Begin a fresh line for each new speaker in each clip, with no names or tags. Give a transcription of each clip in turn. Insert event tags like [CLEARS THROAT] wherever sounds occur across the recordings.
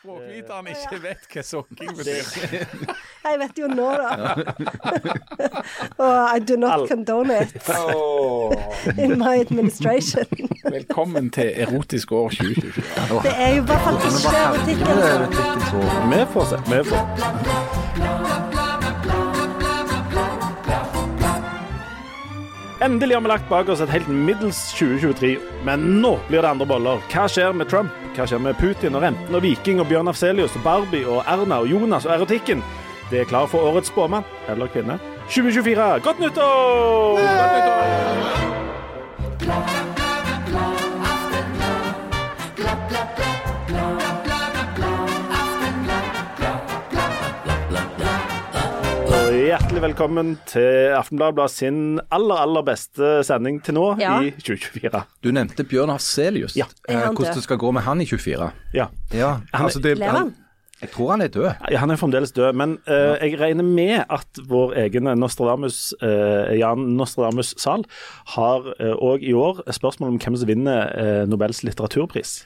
Språkviteren ikke vet hva sokking betyr.
Jeg vet jo nå,
[LAUGHS]
da. Og I do not
Al-
condone
[LAUGHS]
it in my administration.
Velkommen til erotisk år 2024.
Det er jo i hvert fall ikke erotikken.
Vi får se. Vi får. Endelig har vi lagt bak oss et helt middels 2023, men nå blir det andre boller. Hva skjer med Trump? Hva skjer med Putin og renten og Viking og Bjørn Afselius og Barbie og Erna og Jonas og erotikken? Det er klar for årets spåmann eller kvinne. 2024, godt nyttår! Og Hjertelig velkommen til Aftenbladet Blad sin aller, aller beste sending til nå
Ja.
i 2024.
Du nevnte Bjørn Afselius.
Ja.
Eh,
Er han
hvordan
død?
det skal gå med han i 24.
Ja.
Ja, altså det,
Lever han?
Jeg tror han er død.
Ja, han er fremdeles død, men eh, jeg regner med at vår egen Nostradamus, eh, Jan Nostradamus Zahl har òg i år spørsmål om hvem som vinner eh, Nobels litteraturpris.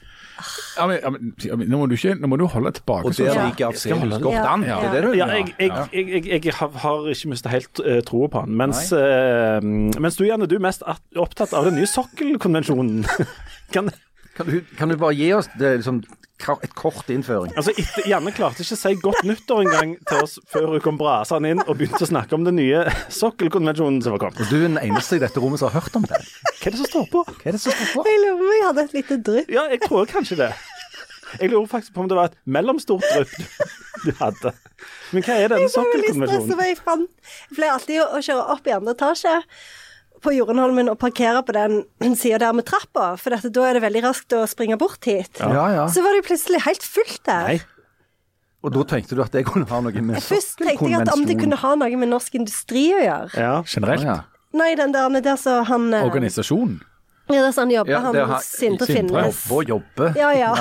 Ja, men, ja, men, ja, men, nå, må du ikke, nå må du holde tilbake.
Og
sånn
der
som-
ligger Afselius
han-
godt
Ja.
an.
Ja.
Det er det du
Ja, jeg, jeg, jeg, jeg, jeg har- har ikke mista helt eh, troa på han. Mens, eh, mens du, Janne, du er mest at- opptatt av den nye sokkelkonvensjonen. [LAUGHS] kan,
Kan du, kan du bare gi oss det, liksom, ka- et kort innføring?
Altså, etter, Janne klarte ikke å si godt nyttår engang til oss før hun kom brasende inn og begynte å snakke om den nye sokkelkonvensjonen som var kommet.
Og du er den eneste i dette rommet som har hørt om det.
Hva er det som står på?
Hva er det som står på?
Jeg lurer på om jeg hadde et lite drypp.
Ja, jeg tror kanskje det. Jeg lurer faktisk på om det var et mellomstort drypp du- du hadde. Men hva er denne
Jeg var veldig stresset,
sånn.
sokkelkonvensjonen?
for jeg fant- jeg pleier alltid å å kjøre opp i andre etasje på Jorunholmen og parkere på den sida der med trappa, for dette, da er det veldig raskt å springe bort hit.
Ja, ja.
Så var det jo plutselig helt fullt der.
Nei.
Og da tenkte du at det kunne ha noe med
Først tenkte jeg at om det kunne ha noe med norsk industri å gjøre.
Ja.
Generelt.
Ja.
Nei, den der, der som han eh,
Organisasjon.
Ja, det er sånn jobber
Ja, det
han
har-
Sindre
Sindre.
Finnes.
Jobbe og jobbe.
Ja, ja.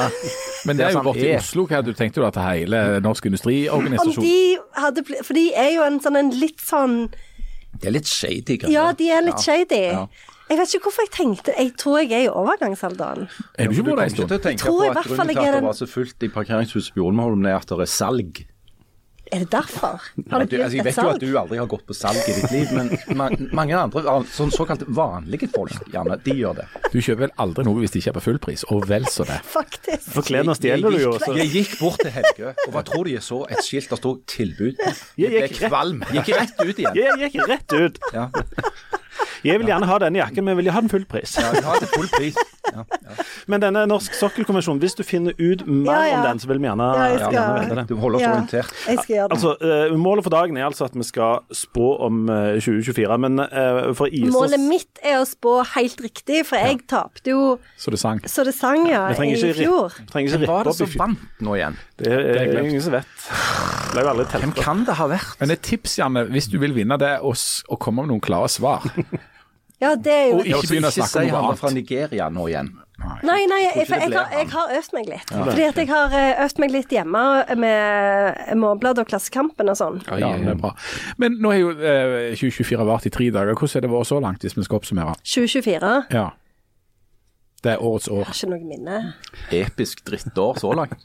Men det er sånn jo
sant,
borte i
er-
Oslo. Hva hadde du tenkt du at hele Norsk
Om
Industriorganisasjon
de hadde bli- For de er jo en sånn en litt sånn
Det er litt shady greier.
Ja, de er litt shady. Jeg vet ikke hvorfor jeg tenkte Jeg tror jeg er i overgangsalderen.
Er du ikke på
Du
det en
kommer ikke
stund?
til å tenke
Tror
på
jeg i
at
hvert fall
grunnen
jeg
til
er
at det
den-
var så fullt i parkeringshuset på Jornholm, det er at det er salg.
Er det derfor? Har
Nei,
det
du,
blitt
altså, jeg
et
vet jo at
salg?
du aldri har gått på salg i ditt liv, men ma mange andre an- sånn såkalt vanlige folk, gjerne, de gjør det.
Du kjøper vel aldri noe hvis det ikke er på full pris, og vel så det.
Faktisk.
For klærne stjeler du jo.
Jeg,
Så.
gikk- jeg gikk bort til Helgø, og hva tror du jeg så? Et skilt der stod 'tilbud'. Jeg ble
gikk rett-
kvalm. Gikk rett ut igjen.
Jeg gikk rett ut.
Ja,
Jeg vil gjerne ha denne jakken, men jeg vil ha den full pris.
ja vi har til full pris. Ja, ja.
Men denne norsk sokkelkonvensjonen, hvis du finner ut mer
Ja, ja.
om den, så vil vi gjerne,
Ja, jeg skal-
gjerne vite det.
Du holder oss
Ja,
orientert.
jeg skal gjøre det.
Altså, eh, Målet for dagen er altså at vi skal spå om eh, 2024, men eh, for ISOs
Målet mitt er å spå helt riktig, for jeg tapte jo
Så det sang.
så det sang, ja,
Vi
i
trenger ikke,
fjor.
ri- trenger ikke rippe
Var det
opp i
som
fjor.
vant nå igjen?
Det er,
er glemt.
ingen som vet. Det ble jo aldri
Hvem
telt.
kan det ha vært?
Men et tips, Janne, hvis du vil vinne det, og, s- og komme med noen klare svar.
Ja, det er jo
Og ikke begynne å
Ikke
snakke
si
om noe
han var fra
annet.
Nigeria nå igjen.
Nei, nei, jeg, for
det
jeg,
ble
har, jeg har øvd meg litt. Fordi at jeg har eh, øvd meg litt hjemme med Morgenbladet og Klassekampen og sånn.
Ja, det er bra. Men nå har jo eh, 2024 vart i tre dager. Hvordan har det vært så langt, hvis vi skal oppsummere?
2024. Jeg har
Ja. Det er årets år.
ikke noe minne.
Episk drittår så
[LAUGHS]
langt.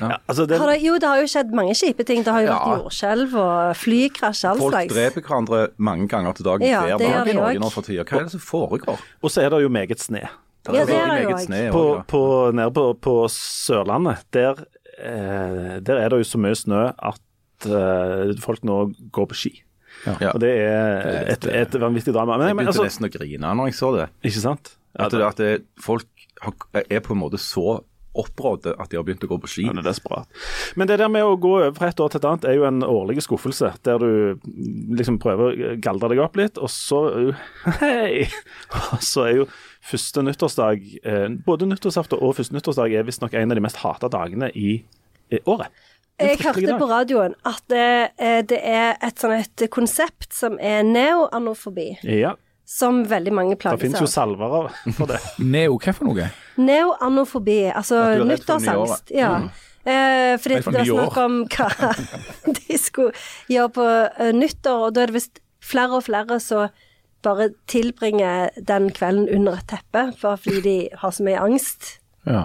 Altså, det,
Har det, jo, det har jo skjedd mange kjipe ting. Det har jo
Ja.
vært jordskjelv og flykrasj, all
Folk
slags.
dreper hverandre mange ganger til dagen
Ja,
hver
det gjør
dag
de
i Norge
også.
nå for tida. Hva er det som foregår?
og så er det jo meget sne.
Ja, det er
veldig
det jo
meget
også.
sne i
På,
år, ja.
på, nede på, på Sørlandet, der, eh, der er det jo så mye snø at eh, folk nå går på ski.
Ja.
Og det er et, et vanvittig drama. Men,
Jeg
men
begynte
altså,
nesten å grine når jeg så det.
ikke sant? Ja,
At, det, at det, folk har, er på en måte så opprådde at de har begynt å gå på ski.
Han er desperat. Men det der med å gå over fra et år til et annet er jo en årlig skuffelse, der du liksom prøver å galdre deg opp litt, og så [LAUGHS] Hei! Og så er jo første nyttårsdag eh, Både nyttårsaften og første nyttårsdag er visstnok en av de mest hata dagene i, i året. En
Jeg
fryktelig
hørte
dag.
på radioen at eh, eh, det er et sånn et konsept som er neoanofobi,
Ja.
som veldig mange
Det
plages
finnes jo
av.
salver av- for det.
Neo, hva for noe?
Neoanofobi,
At
altså
du er redd for
nyttårsangst. Ja. Eh, fordi
Redd for
det var
nye år.
snakk om hva [LAUGHS] de skulle gjøre på eh, nyttår, og da er det visst flere og flere som bare tilbringer den kvelden under et teppe, bare fordi de har så mye angst
Ja.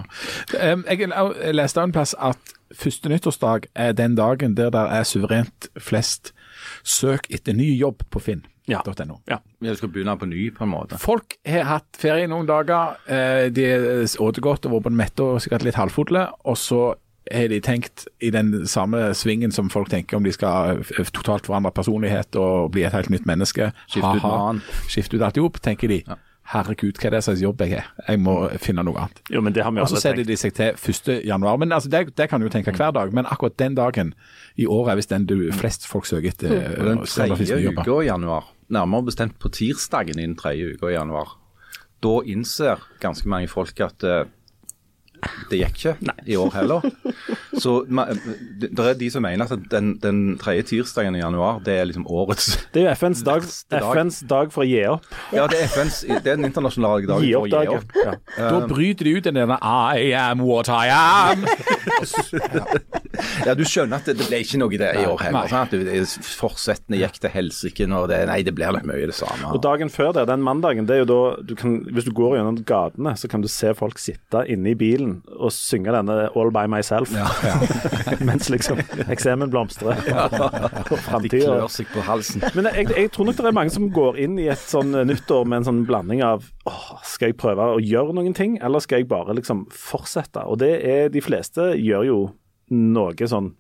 Em, Jeg jeg leste en plass at første nyttårsdag er den dagen der det er suverent flest søk etter ny jobb på finn.no.
[LAUGHS] Ja.
Vi skal begynne på ny, på en måte.
Folk har hatt ferie noen dager, eh, de har spist godt og vært på en mette og sikkert litt halvfotle, og så har de tenkt i den samme svingen som folk tenker om de skal eh, totalt forandre personlighet og bli et helt nytt menneske.
Skifte ut
Ha-ha.
mannen.
Skifte ut alt i hop, tenker de. Herregud, hva er det slags jobb jeg har? Jeg må finne noe annet.
Jo, men det har vi
Og så
alle
setter
tenkt.
de seg til 1. januar. Men altså, det, det kan du jo tenke hver dag, men akkurat den dagen i året er visst den du flest folk søker etter. eh,
Og den
og ser om det finnes nye
tredje
jobber.
uka i januar, nærmere bestemt på tirsdagen i den tredje uka i januar, da innser ganske mange folk at eh, det gikk ikke i år heller. Så ma- det det er de som mener at den, den tredje tirsdagen i januar, det er liksom årets
Det er jo FNs dag,
Verste dag.
FNs dag for å gi opp.
Ja, det er FNs, det er den internasjonale dagen
Gi
for å gi
opp-dagen.
opp.
Ja.
Da bryter de ut den der I am what I am.
Ja, du skjønner at det, det ble ikke noe i det i år
Nei.
heller. sant? Det- det- Forsettene gikk til helsike når det Nei, det blir det mye det samme.
Og dagen før det, den mandagen, det er jo da du kan, Hvis du går gjennom gatene, så kan du se folk sitte inne i bilen og synge denne 'All by myself'. [LAUGHS] Mens liksom eksemen blomstrer. [LAUGHS] Og
de
framtida
klør seg på halsen.
Men jeg, jeg tror nok det er mange som går inn i et sånn eh, nyttår med en sånn blanding av åh, skal jeg prøve å gjøre noen ting, eller skal jeg bare liksom fortsette? Og det er de fleste gjør jo noe sånn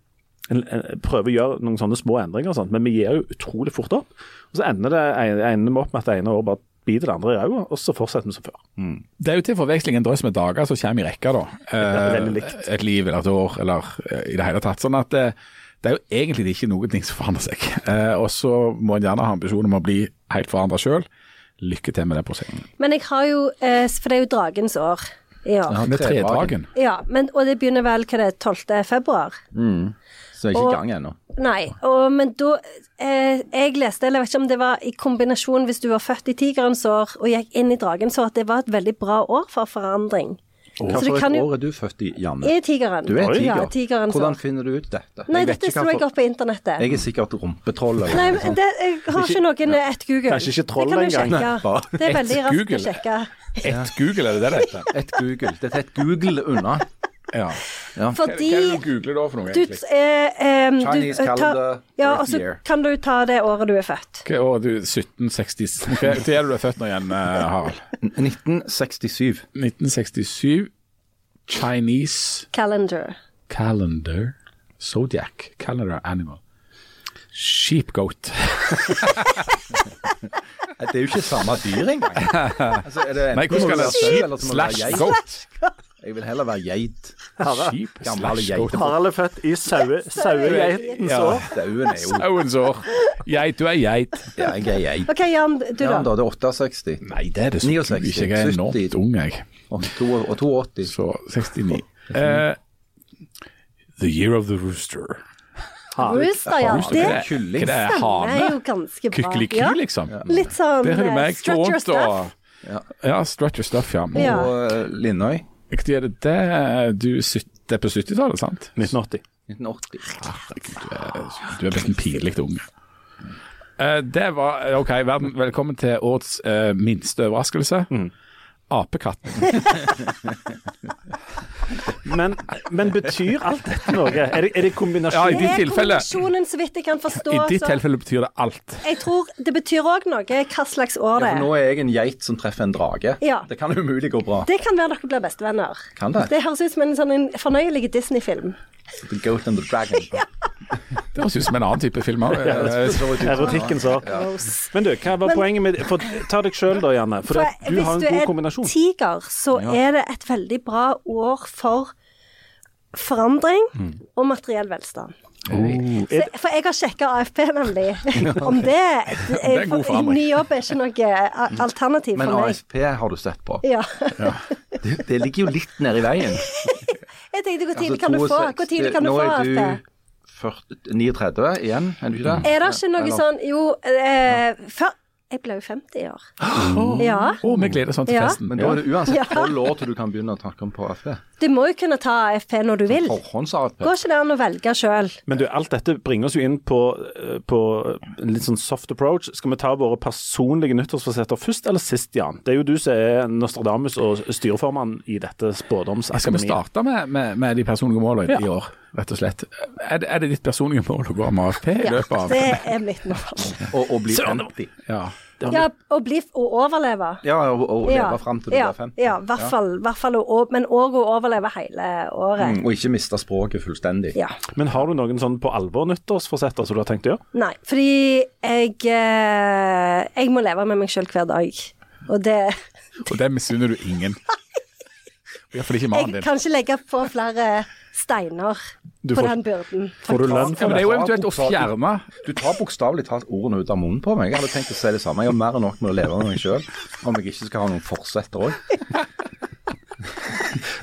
en- en- prøver å gjøre noen sånne små endringer og sånt, men vi gir jo utrolig fort opp. Og så ender det ender vi opp med at det ene året bare biter det andre i øyet, og så fortsetter vi som før.
Det er jo til forveksling en drøss med dager som kommer i rekka, da. Eh,
veldig likt.
Et liv eller et år, eller eh, i det hele tatt. Sånn at eh, det er jo egentlig ikke noen ting som forandrer seg. [LAUGHS] Eh, og så må en gjerne ha ambisjoner om å bli helt forandra sjøl. Lykke til med det prosjektet.
Men jeg har jo eh, For det er jo dragens år i år.
Ja,
Med tredragen.
Ja, men, og det begynner vel hva det er, 12. februar?
Så det er ikke i
Og- Altså,
gang ennå.
Nei, og, men da eh, Jeg leste, eller jeg vet ikke om det var i kombinasjon hvis du var født i tigerens år og gikk inn i dragens år, at det var et veldig bra år for forandring.
Hva
det
for et
kan jo-
år er du født i, Janne?
I tigeren.
Du er en
Ja,
tiger.
tigerens år.
Hvordan finner du ut dette?
Nei,
Jeg vet
dette
ikke
slo jeg
hva-
opp på internettet.
Jeg er sikkert Sånn. rumpetroll. eller
Nei,
noe
men
sånt.
det, jeg har ikke noen ett Google.
Kanskje ikke
Det
troll
kan du
engang.
Nei,
sjekke.
bare
Det er
ett
veldig raskt
Google.
å sjekke.
Ett Google, er det det det heter?
Et Google. Dette er et Google unna.
Ja.
Fordi
googler da for noe,
du, eh, em, du
Chinese
eh,
calendar,
Ja,
Earth
og så
year.
kan du ta det året du er født.
Hva år er du? 1760 Hva hva er det du er født nå igjen, eh, Harald?
1967.
1967. Chinese
Calendar.
calendar, zodiac, calendar animal. Sheepgoat.
Det er jo ikke samme dyr engang. Altså, er det enten
Nei, hvordan skal det
må være sau, eller
Sheep
så må det være
slash
geit?
goat.
Jeg vil heller være geit.
Sheep
Gamle
slash
geiter.
goat.
Harald er født i saue- sauegeitens
Ja.
år.
Dauen er jo
Sauens år. Geit, du er geit.
ja, jeg er geit.
OK, Jan, du
Ja, men
da.
da er det 68.
Nei, det er det så
69,
ikke. Jeg er enormt
70.
ung, jeg.
Og to- og 82.
Så 69. Eh, the year of the rooster.
Rooster, ja. Det
Hva er
Kylling.
Hva er det?
stemmer jo
Hane?
ganske bra.
Kykkeliky,
Ja.
liksom.
Litt sånn
Det har du
eh,
meg
structure
stående
stuff.
og Ja, strut your stuff, ja.
Ja.
Og eh, Lindøy.
Hva er det det du sytter på 70-tallet, sant? Eh,
1980.
1980.
Du er nesten pinlig ung. Eh, det var OK, verden, velkommen til årets eh, minste overraskelse. Apekatten.
Men, men betyr alt dette noe? Er det, er det
Ja, i
kombinasjon?
ditt
Det er
tilfelle.
kombinasjonen, så vidt jeg kan forstå.
I ditt
så-
tilfelle betyr det alt.
Jeg tror det betyr òg noe hva slags år
Ja,
det
for nå
er.
er jeg en geit som treffer en drage.
Ja.
Det kan umulig gå bra.
Det kan være dere blir bestevenner.
Kan det?
Det høres ut som en sånn en fornøyelig Disney-film.
The Goat and the Dragon. [LAUGHS]
Det høres ut som en annen type film òg.
Erotikkens år.
Gross.
Men du, hva var poenget med for, Ta deg sjøl da, Janne. For,
For
det- du har en
hvis du
god
er
kombinasjon.
tiger, så er det et veldig bra år for forandring og materiell velstand.
Oh.
Så, for jeg har sjekka AFP, nemlig. Om det, det
er en god forandring.
Ny jobb er ikke noe eh, a- alternativ
Men
for meg.
ASP har du sett på.
[LAUGHS] Ja.
Det, det ligger jo litt nede i veien.
Jeg tenkte hvor
Altså,
tidlig kan du få?
62
Hvor tidlig kan du
Nå
få
er du
AFP?
40 39 igjen, er du ikke det?
Er det ikke noe
Eller-
sånn Jo, eh, før Jeg ble jo 50 i år. Ja.
Å, vi gleder oss sånn til
Ja.
festen.
Men da er det uansett
Ja.
12 år til du kan begynne å snakke om på AFP.
Du, Du må jo kunne ta AFP når du vil.
Forhånds-AFP.
Går ikke det an å velge sjøl?
Men du, alt dette bringer oss jo inn på, eh, på en litt sånn soft approach. Skal vi ta våre personlige nyttårsforsetter først eller sist, Jan? Det er jo du som er Nostradamus og styreformann i
Skal
dette
vi
spådomsakademiet.
starte med, med, med de personlige målene
Ja.
i år, rett og slett? Er det, er det ditt personlige mål å gå med AFP i
Ja,
løpet av
det er mitt mål.
Og, og bli
Søren, det var-
50.
ja.
Ja, å bli å overleve.
Ja, og, og leve
Ja,
fram til du
ja,
blir 50.
Ja, i hvert fall, hvert fall å, o- men òg å overleve hele året.
Mm, Og ikke miste språket fullstendig.
Ja.
Men har du noen sånn på alvor nyttårsforsetter som du har tenkt å gjøre?
Nei, fordi jeg, eh, jeg må leve med meg sjøl hver dag. Og det
Og det misunner du
[LAUGHS]
ingen. Iallfall ikke mannen
Jeg
din.
kan ikke legge på flere steiner
Du
på
får-
den byrden.
Får du lønn
Ja,
for
men det
det?
er jo eventuelt å fjerne
Du tar bokstavelig talt ordene ut av munnen på meg. Jeg hadde tenkt å si det samme. Jeg har mer enn nok med å leve med meg sjøl, om jeg ikke skal ha noen forsetter òg.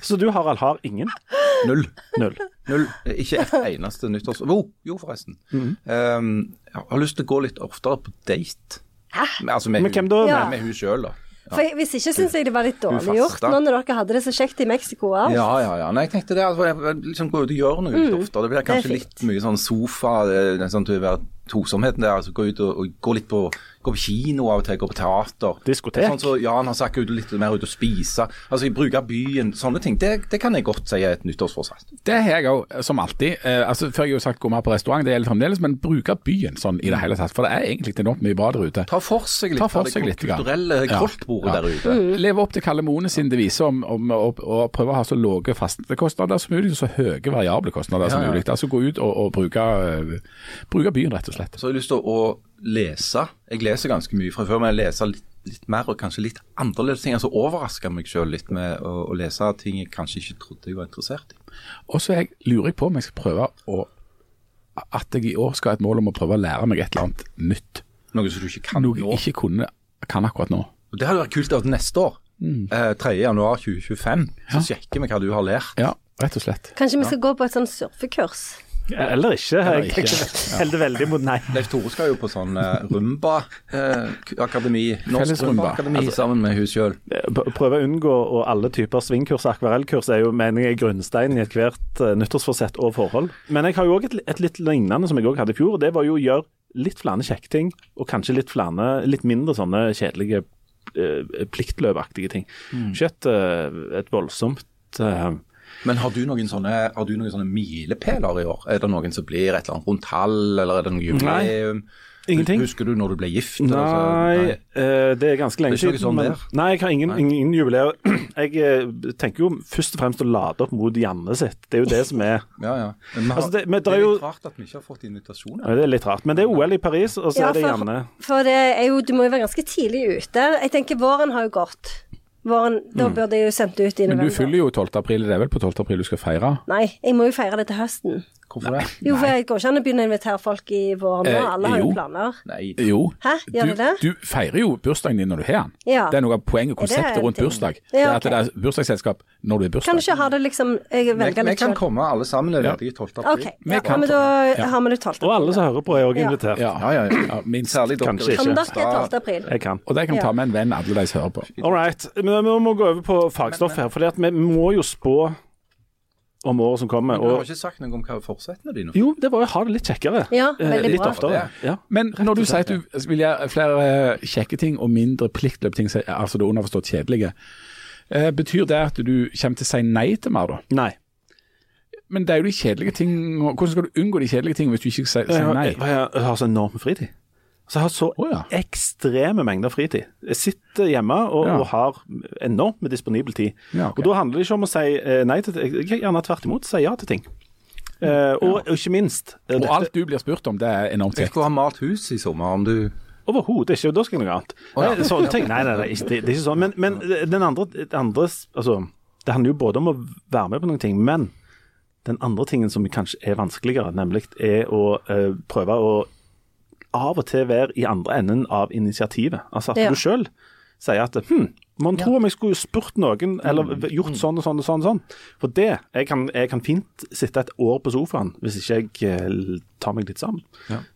Så du, Harald, har ingen?
Null.
Null.
Null. Ikke et eneste nyttårs... Jo, jo forresten.
Mhm.
Um, jeg har lyst til å gå litt oftere på date.
Hæ?
Men, altså, med
Men hvem
hun-
da?
Ja.
Med, med hun sjøl, da.
For jeg, hvis ikke syns jeg det var litt dårlig
fasta.
gjort nå når dere hadde det så kjekt i Mexico. Ja.
Ja, ja, ja. Nei, jeg tenkte det. Altså, jeg- jeg liksom gå ut og gjøre noe litt oftere. Det blir
Mm. er
kanskje
fint.
litt mye sånn sofa, eh, den sånn til å være tosomheten der. Altså, gå ut og, og gå litt på, gå på kino av og til, gå på teater.
Diskotek.
Sånn så Jan har sagt ut litt mer ut og spise. Altså, bruke byen, sånne ting. Det, det kan jeg godt si er et nyttårsforsett.
Det har jeg òg, som alltid. Eh, altså, før jeg har jo sagt gå mer på restaurant, det gjelder fremdeles, men bruke byen sånn i det hele tatt. For det er egentlig enormt mye bra der ute.
Mm. Ta for seg litt
Ta for
av det
seg litt, ja.
kulturelle
Ja.
koldtbordet
Ja. Mm.
der ute. Mm.
Leve opp til Kalle Mone sin devise om, om å, å prøve å ha så lave faste kostnader som mulig, og så høye variable kostnader som
Ja, ja.
mulig. Altså gå ut og, og bruke, eh, bruke byen, rett og slett.
Så har jeg lyst til å lese. Jeg leser ganske mye fra før, men jeg leser litt, litt mer og kanskje litt annerledes ting. Altså overraske meg sjøl litt med å, å lese ting jeg kanskje ikke trodde jeg var interessert i.
Og så er jeg- lurer jeg på om jeg skal prøve å At jeg i år skal ha et mål om å prøve å lære meg et eller annet nytt.
Noe som du ikke kan
Noe
nå.
jeg ikke kunne, kan akkurat nå.
Og Det hadde vært kult at neste år,
Mm.
eh, 3. januar 2025, så sjekker vi hva du har lært.
Ja, rett og slett.
Kanskje vi skal gå på et sånn surfekurs?
Eller ikke. Jeg
ikke.
tenker [LAUGHS] heller veldig mot nei.
Leif Tore skal jo på sånn eh, rumba-akademi,
Felles
norsk
rumba.
rumba-akademi Altså, sammen med hun sjøl.
P- Prøve å unngå og alle typer svingkurs og akvarellkurs er jo mener jeg grunnsteinen i ethvert eh, nyttårsforsett og forhold. Men jeg har jo òg et, et litt lignende som jeg òg hadde i fjor. og Det var jo å gjøre litt flere kjekke ting, og kanskje litt flere, litt mindre sånne kjedelige eh, pliktløpaktige ting. Ikke et, eh, et voldsomt eh,
Men har du noen sånne, har du noen sånne milepæler i år? Er det noen som blir et eller annet rundt tall, eller er det noe jubileum?
Ingenting.
Husker du når du ble gift? Altså, eller så-
Nei, eh, det er ganske lenge
Det er ikke noe
siden.
sånn
men-
der?
Nei, jeg har ingen, ingen jubileer. Jeg eh, tenker jo først og fremst å lade opp mot Janne sitt. Det er jo det som er
Ja, ja. Men, vi har-
Altså, det- men det
det
er
er
jo-
litt rart at vi ikke har fått invitasjoner.
Ja, Det er litt rart. Men det er OL i Paris, og så
Ja,
er det
for,
Janne.
for det er jo, du må jo være ganske tidlig ute. Jeg tenker våren har jo gått. Våren, Da bør det jo sendt ut i
Men
november.
du fyller jo 12. april, det er vel på 12. april du skal feire?
Nei, jeg må jo feire det til høsten.
Hvorfor det?
Jo, for jeg går ikke an å begynne å invitere folk i våren nå.
Eh,
Alle har jo
jo.
planer.
Nei,
Jo.
Hæ? Gjør
du,
det det?
du feirer jo bursdagen din når du har den.
Ja.
Det er noe av poenget og
det er
konseptet
en
rundt
ting.
bursdag.
Ja,
Det er at det
ok.
er bursdagsselskap når du er bursdag.
Kan du ikke ha det liksom jeg
vi,
velger
vi
litt
kan
sjøl?
komme alle sammen er ledige 12. april.
OK.
Vi
Ja,
kan
men da
Ja.
har vi det 12.
Og alle som hører på, er òg
Ja.
invitert.
Ja.
Ja, ja, ja. ja.
minst.
Særlig dere.
Kanskje
Kan
ikke.
dere 12. april?
Jeg kan.
Og de kan
Ja.
ta med en venn alle de som hører på.
All right. Men vi må gå over på fagstoff her, for vi må jo spå om året som kommer.
Du har
Og
ikke sagt noe om hva fortsettene dine
jo, det var jo å ha det litt kjekkere.
Ja,
Eh,
veldig
litt
bra.
oftere. Ja.
Men når du sier at du vil gjøre flere eh, kjekke ting og mindre pliktløpting, så- altså det underforstått kjedelige, eh, betyr det at du kommer til å si nei til mer, da?
Nei.
Men det er jo de kjedelige ting og Hvordan skal du unngå de kjedelige tingene hvis du ikke sier
Jeg
sier
har,
nei?
jeg, har- jeg har så enorm fritid. Så jeg har så
Å, ja.
ekstreme mengder fritid. Jeg sitter hjemme og,
Ja.
og har enormt med disponibel tid.
Ja, ok.
Og da handler det ikke om å si eh, nei til ting, Jeg kan gjerne tvert imot si ja til ting. Eh, og, og ikke minst eh,
Og
dette-
alt du blir spurt om, det er enormt
Jeg
kjekt.
skulle ha malt hus i sommer, om du
Overhodet ikke, og da skal jeg noe annet. Nei, det er sånne ting. Nei, nei, nei, ikke- det, det er ikke sånn. Men, men den andre, det andre altså, Det handler jo både om å være med på noen ting, men den andre tingen som kanskje er vanskeligere, nemlig er å eh, prøve å av og til være i andre enden av initiativet. Altså at
Ja.
du sjøl sier at hm, man tror om jeg skulle spurt noen, eller v- gjort sånn og sånn og sånn. og sånn. For det jeg kan, jeg kan fint sitte et år på sofaen hvis ikke jeg eh, tar meg litt sammen.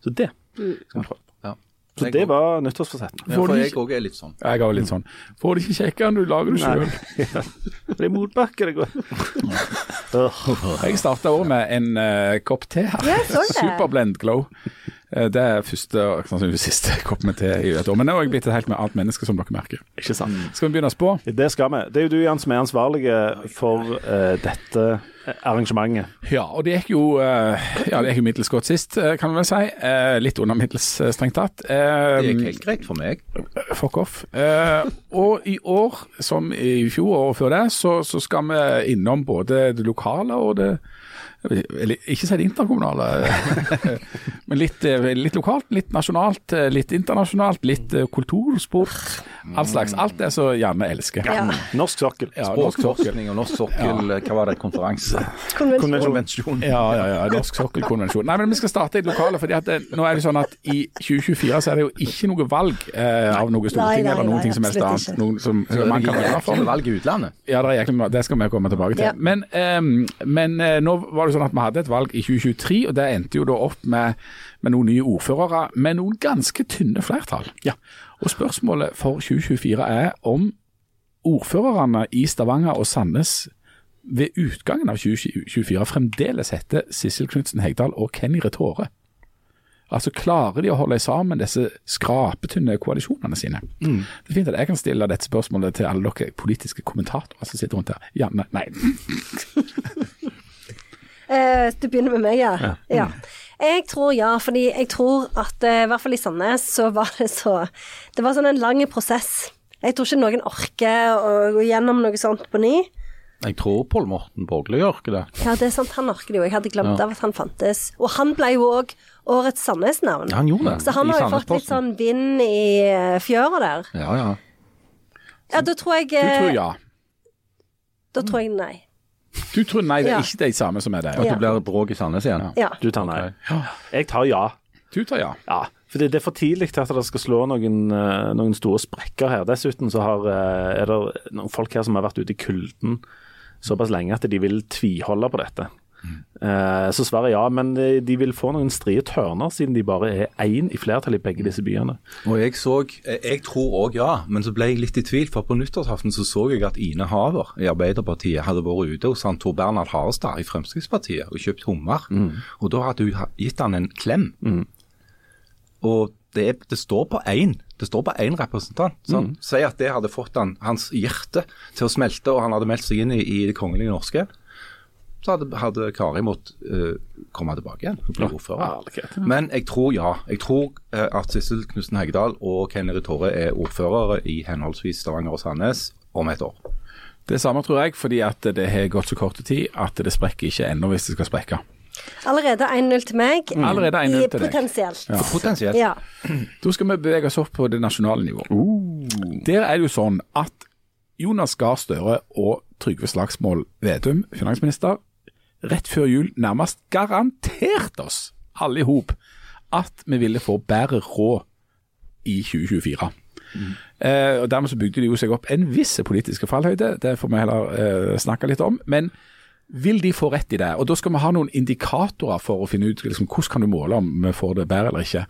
Så det skal vi prøve. Så det var nyttårsforsetten.
Får
For
du
jeg
ikke,
òg er litt sånn.
jeg har jo litt sånn Får det ikke kjekke enn du lager det sjøl.
Det er motbakke det går. Øh,
Jeg starta året med en eh, kopp te her.
Ja, jeg så det.
Superblend Glow. Eh, det er første og sannsynligvis siste koppen med te i et år. Men nå er jeg blitt et helt med annet menneske, som dere merker.
Ikke sant.
Skal vi begynne å spå?
Det skal vi. Det er jo du, Jan, som er ansvarlig for eh, dette arrangementet.
Ja, og det gikk jo, uh, ja, det gikk jo middels godt sist, eh, kan vi vel si. Eh, litt under middels, eh, strengt tatt. Eh,
Det gikk helt greit for meg.
Fuck off. Eh, og i år, som i fjor og året før det, så, så skal vi innom både det lokale og det eller, Ikke si det interkommunale, [LAUGHS] men litt, eh, litt lokalt, litt nasjonalt, eh, litt internasjonalt, litt eh, kultur, sport, all slags. Alt det som Janne elsker.
Ja.
Norsk sokkel.
Ja, norsk sokkel.
Språkforskning og norsk sokkel, eh, hva var det, konferanse?
Konvensjon.
Konvensjon.
Ja, ja, ja, norsk sokkelkonvensjon. Nei, men vi skal starte i det lokale, fordi at det, nå er det sånn at i 2024 så er det jo ikke noe valg eh, av noe storting
nei,
eller noen
nei,
ting som helst
absolutt
annet.
ikke.
Noen som,
Det
som man kan være for.
valg i utlandet.
Ja, det, er jæklig, mye- det skal vi komme tilbake til.
Ja.
Men, ehm, men eh, nå var det sånn at vi hadde et valg i 2023, og det endte jo da opp med, med noen nye ordførere med noen ganske tynne flertall. Og spørsmålet for 2024 er om ordførerne i Stavanger og Sandnes ved utgangen av 2024 fremdeles heter Sissel Knutsen Hegdal og Kenny Retore. Altså Klarer de å holde sammen disse skrapetynne koalisjonene sine? Det er fint at jeg kan stille dette spørsmålet til alle dere politiske kommentatorer som sitter rundt her. Janne, nei.
Eh, du begynner med meg, ja. ja. Jeg tror ja, fordi jeg tror at eh, i hvert fall i Sandnes så var det så Det var sånn en lang prosess. Jeg tror ikke noen orker å gå gjennom noe sånt på ny.
Jeg tror Pål Morten Borgli gjør ikke det.
Ja, det er sant, han orker det jo. Jeg hadde glemt av at han fantes. Og han ble jo òg årets Sandnes-navn.
Ja, han gjorde det.
Så han
I
har jo fått litt sånn
Sandnesposten.
vind i eh, fjøra der.
Ja, ja.
Ja, da tror jeg
Du
eh,
tror ja.
Da tror jeg nei.
Du tror nei, det
Ja.
er ikke de samme som er det.
At
Ja.
det blir bråk i Sandnes igjen.
Ja.
Du tar nei. Jeg tar ja.
Du tar ja.
Ja, for det, det er for tidlig til at det skal slå noen, eh, noen store sprekker her. Dessuten så har, eh, er det noen folk her som har vært ute i kulden såpass lenge at de vil tviholde på dette. Eh, Så svaret er ja, men eh, de vil få noen strie tørner, siden de bare er én i flertall i begge disse byene.
Og jeg så eh, Jeg tror òg ja, men så ble jeg litt i tvil. For på nyttårsaften så så jeg at Ine Haver i Arbeiderpartiet hadde vært ute hos han Tor Bernhard Harestad i Fremskrittspartiet og kjøpt hummer. Og da hadde hun ha- gitt han en klem. Og det, er, det står på én. Det står på én representant. Så han sier at det hadde fått han, hans hjerte til å smelte, og han hadde meldt seg inn i, i Det kongelige norske. Så hadde, hadde Kari måttet eh, komme tilbake igjen og bli ordfører.
herlighet.
Men jeg tror ja. Jeg tror eh, at Sissel Knutsen Hegdal og Kenny Torre er ordførere i henholdsvis Stavanger og Sandnes om et år.
Det samme tror jeg, fordi at det har gått så kort tid at det sprekker ikke ennå hvis det skal sprekke.
Allerede 1-0 til meg.
Mm. Allerede 1-0
i-
til deg.
Potensielt.
Så Potensielt.
Ja.
Da skal vi bevege oss opp på det nasjonale nivå. Der er det jo sånn at Jonas Gahr Støre og Trygve Slagsmål Vedum, finansminister, rett før jul nærmest garanterte oss alle i hop at vi ville få bedre råd i 2024. Eh, og Dermed så bygde de jo seg opp en viss politisk fallhøyde, det får vi heller eh, snakke litt om. Men vil de få rett i det? Og Da skal vi ha noen indikatorer for å finne ut liksom, hvordan kan du måle om vi får det bedre eller ikke.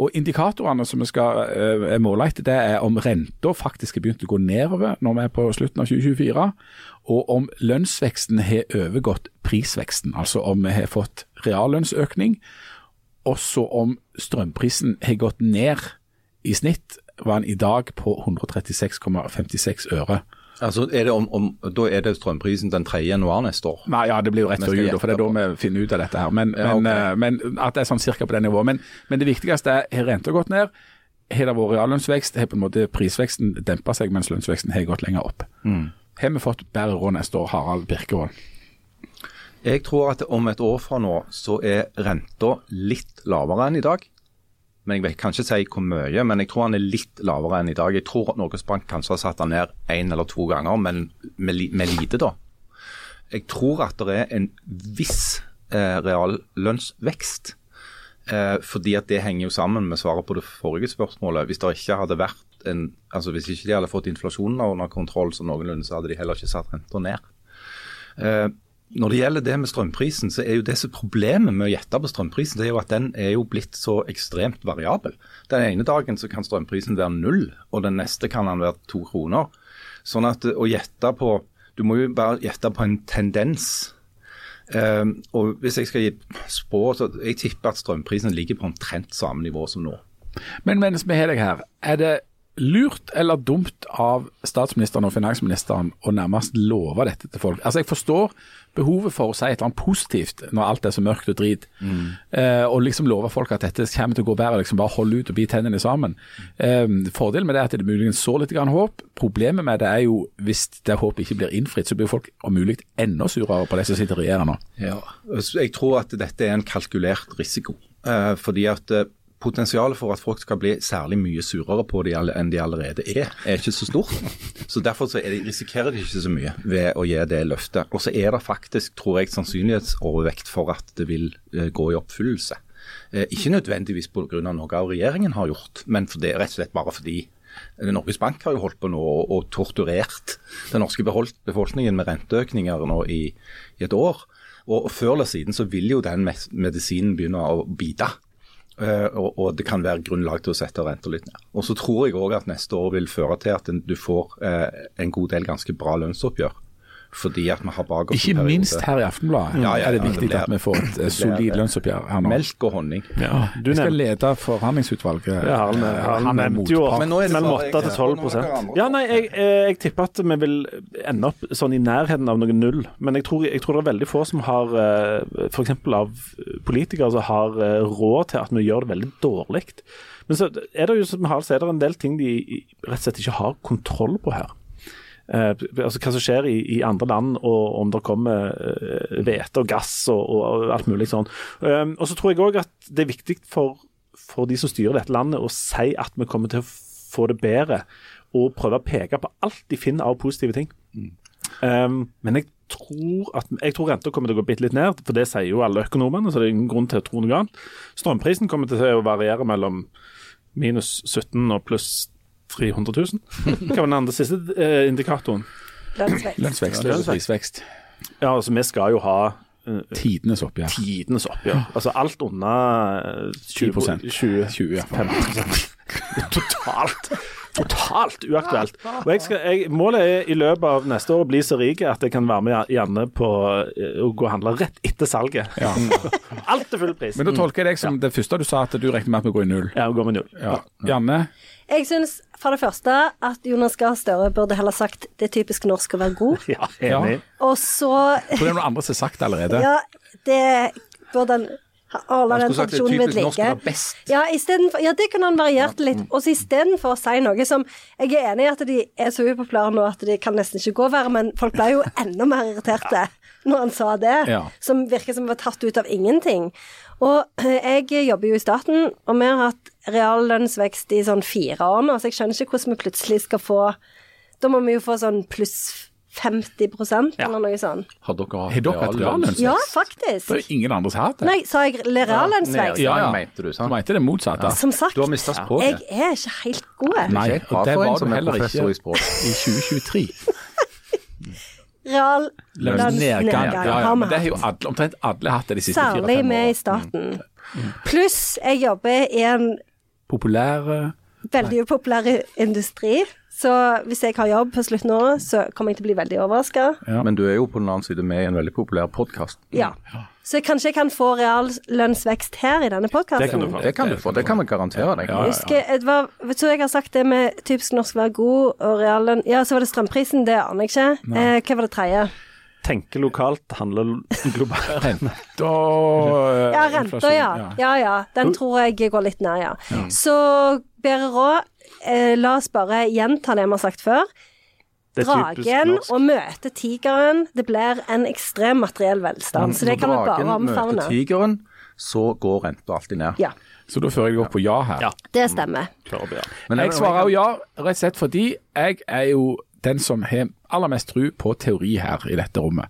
Og Indikatorene som vi skal eh, måle etter, det er om renta faktisk har begynt å gå nedover når vi er på slutten av 2024, og om lønnsveksten har overgått prisveksten. Altså om vi har fått reallønnsøkning, også om strømprisen har gått ned i snitt, var den i dag på 136,56 øre.
Altså, er det om, om, da er det strømprisen den 3. januar neste år.
Nei, ja, det blir jo rett
Vi
før
skal
jul, da,
gjette
for det er da vi finner ut av dette her. Men,
Ja,
men,
ok.
eh, men at det er sånn cirka på det nivået. Men, men det viktigste er, har renta gått ned? Har det vært reallønnsvekst? Har på en måte prisveksten dempa seg, mens lønnsveksten har gått lenger opp?
Mm.
Har vi fått bedre råd neste år, Harald Birkevold?
Jeg tror at om et år fra nå så er renta litt lavere enn i dag. Men jeg vet, kan ikke si hvor mye, men jeg tror han er litt lavere enn i dag. Jeg tror at Norges Bank kanskje har satt han ned én eller to ganger, men med, li- med lite, da. Jeg tror at det er en viss eh, reallønnsvekst. Eh, fordi at det henger jo sammen med svaret på det forrige spørsmålet. Hvis det ikke hadde vært en, altså hvis ikke de hadde fått inflasjonen under kontroll som noenlunde, så hadde de heller ikke satt renta ned. Eh, Når det gjelder det med strømprisen, så er jo det som er problemet med å gjette på strømprisen, det er jo at den er jo blitt så ekstremt variabel. Den ene dagen så kan strømprisen være null, og den neste kan den være to kroner. Sånn at å gjette på Du må jo bare gjette på en tendens. Ehm, og hvis jeg skal gi spå, så jeg tipper at strømprisen ligger på omtrent samme nivå som nå.
Men mens vi har deg her, er det lurt eller dumt av statsministeren og finansministeren å nærmest love dette til folk? Altså, jeg forstår behovet for å si et eller annet positivt når alt er så mørkt og drit,
Mm.
eh, og liksom love folk at dette kommer til å gå bedre, liksom bare hold ut og bit tennene sammen. Eh, fordelen med det er at det muligens så litt grann håp. Problemet med det er jo hvis det håpet ikke blir innfridd, så blir folk om mulig enda surere på de som sitter og regjerer nå.
Ja, så Jeg tror at dette er en kalkulert risiko. Eh, fordi at eh, Potensialet for at folk skal bli særlig mye surere på de alle- enn de allerede er, er ikke så stort. Så Derfor så er de, risikerer de ikke så mye ved å gi det løftet. Og så er det faktisk, tror jeg, sannsynlighetsovervekt for at det vil eh, gå i oppfyllelse. Eh, ikke nødvendigvis pga. noe av regjeringen har gjort, men for det, rett og slett bare fordi Eh, Norges Bank har jo holdt på nå og, og torturert den norske behold- befolkningen med renteøkninger nå i, i et år. Og, og før eller siden så vil jo den mes- medisinen begynne å bite. Eh, og, og det kan være grunnlag til å sette renta litt ned. Og så tror jeg òg at neste år vil føre til at en- du får eh, en god del ganske bra lønnsoppgjør. Fordi at vi har bak oss en
Ikke
periode-
minst her i Aftenbladet
Ja, ja,
er det
ja, det
viktig
blir-
at vi får et eh,
blir-
solid lønnsoppgjør her nå.
Melk og honning.
Du
Jeg skal
nevnte
lede forhandlingsutvalget.
ja, han,
Eh,
han,
er
nevnte jo
motpart.
Men nå er det
mellom
bare-
8 til 12
Nå er det andre.
Ja, nei, jeg, eh, jeg tipper at vi vil ende opp sånn i nærheten av noen null. Men jeg tror, jeg tror det er veldig få som har, f.eks. av eh, politikere, som har eh, råd til at vi gjør det veldig dårlig. Men så er det jo som Harald sier, det er en del ting de i- rett og slett ikke har kontroll på her. Eh, altså Hva som skjer i, i andre land, og om det kommer eh, hvete og gass og, og alt mulig sånn. Eh, og så tror jeg òg at det er viktig for, for de som styrer dette landet, å si at vi kommer til å få det bedre, og prøve å peke på alt de finner av positive ting. Eh, men jeg tror, at- jeg tror renta kommer til å gå bitte litt ned, for det sier jo alle økonomene, så det er ingen grunn til å tro noe annet. Strømprisen kommer til å variere mellom minus 17 og pluss 300 [LAUGHS] 000. Hva var den andre siste eh, indikatoren?
Lønnsvekst.
Lønnsvekst og prisvekst.
Ja, altså vi skal jo ha eh,
Tidenes oppgjør.
tidenes oppgjør. Altså alt under eh, 20,
10%.
20
20, ja.
15 [LAUGHS] Totalt. Totalt uaktuelt. Og jeg skal, jeg, målet er i løpet av neste år å bli så rik at jeg kan være med Janne på eh, å gå og handle rett etter salget. [LAUGHS] Alt til full pris.
Men da tolker jeg deg som det første du sa, at du regner med at vi går i null.
Ja, går med null.
Ja. Janne,
Jeg syns for det første at Jonas Gahr Støre burde heller sagt det er typisk norsk å være god.
Ja, enig.
Ja.
Og så
for det er noen andre som har sagt det allerede.
Ja, det burde han holde
Han
den
skulle sagt det er
tradisjonen ved
typisk norsk å
like.
være best.
Ja, istedenfor- ja, det kunne han variert litt. Og så istedenfor å si noe som Jeg er enig i at de er så upopulære nå at de kan nesten ikke gå verre, men folk ble jo enda mer irriterte når han sa det.
Ja.
Som virker som var tatt ut av ingenting. Og eh, jeg jobber jo i staten, og vi har hatt reallønnsvekst i sånn fire år nå, så jeg skjønner ikke hvordan vi plutselig skal få Da må vi jo få sånn pluss 50 eller noe sånt.
Har dere hatt
Har dere hatt reallønnsvekst?
Ja, faktisk.
Det er jo ingen andre som har hatt det.
Nei, sa jeg reallønnsvekst?
Ja, ja.
mente du, sant?
Du mente det motsatte.
Som sagt,
Du har mistet språket.
jeg er ikke helt god.
Nei,
Helt bra
og det
for en
var du
som er
heller ikke
professor i
i
språk.
2023.
Reallønnsnedgang
Lønnsnedgang. Ja, ja.
har
Men det har
vi hatt.
jo alle, omtrent alle hatt det de siste
Særlig
fire-fem
med i
årene.
staten.
Mm.
Pluss jeg jobber i en
Populære
veldig upopulær industri. Så hvis jeg har jobb på slutten av året, så kommer jeg til å bli veldig overraska.
Men du er jo på den annen side med i en veldig populær podkast.
Ja. Så kanskje jeg kan få reallønnsvekst her i denne
Det kan du
podkasten.
få.
Det kan du få, det kan vi garantere deg.
Ja, ja.
Jeg tror jeg har sagt det med typisk norsk være god og reallønn Ja, så var det strømprisen, det aner jeg ikke. Eh, hva var det tredje?
Tenke lokalt, handle globalt.
[LAUGHS] renter
Ja,
eh,
renta, ja. ja. ja. Den tror jeg går litt ned, ja. Så bedre råd. Eh, la oss bare gjenta det vi har sagt før.
Det er typisk
Dragen
norsk.
og møte tigeren. Det blir en ekstrem materiell velstand. Så det kan vi bare
Når dragen
omfavne.
møter tigeren, så går renta alltid ned.
Ja,
Så da fører jeg deg opp på ja her.
Ja.
det stemmer.
Men
jeg
det-
svarer jo ja, rett og slett fordi jeg er jo den som har aller mest tro på teori her i dette rommet.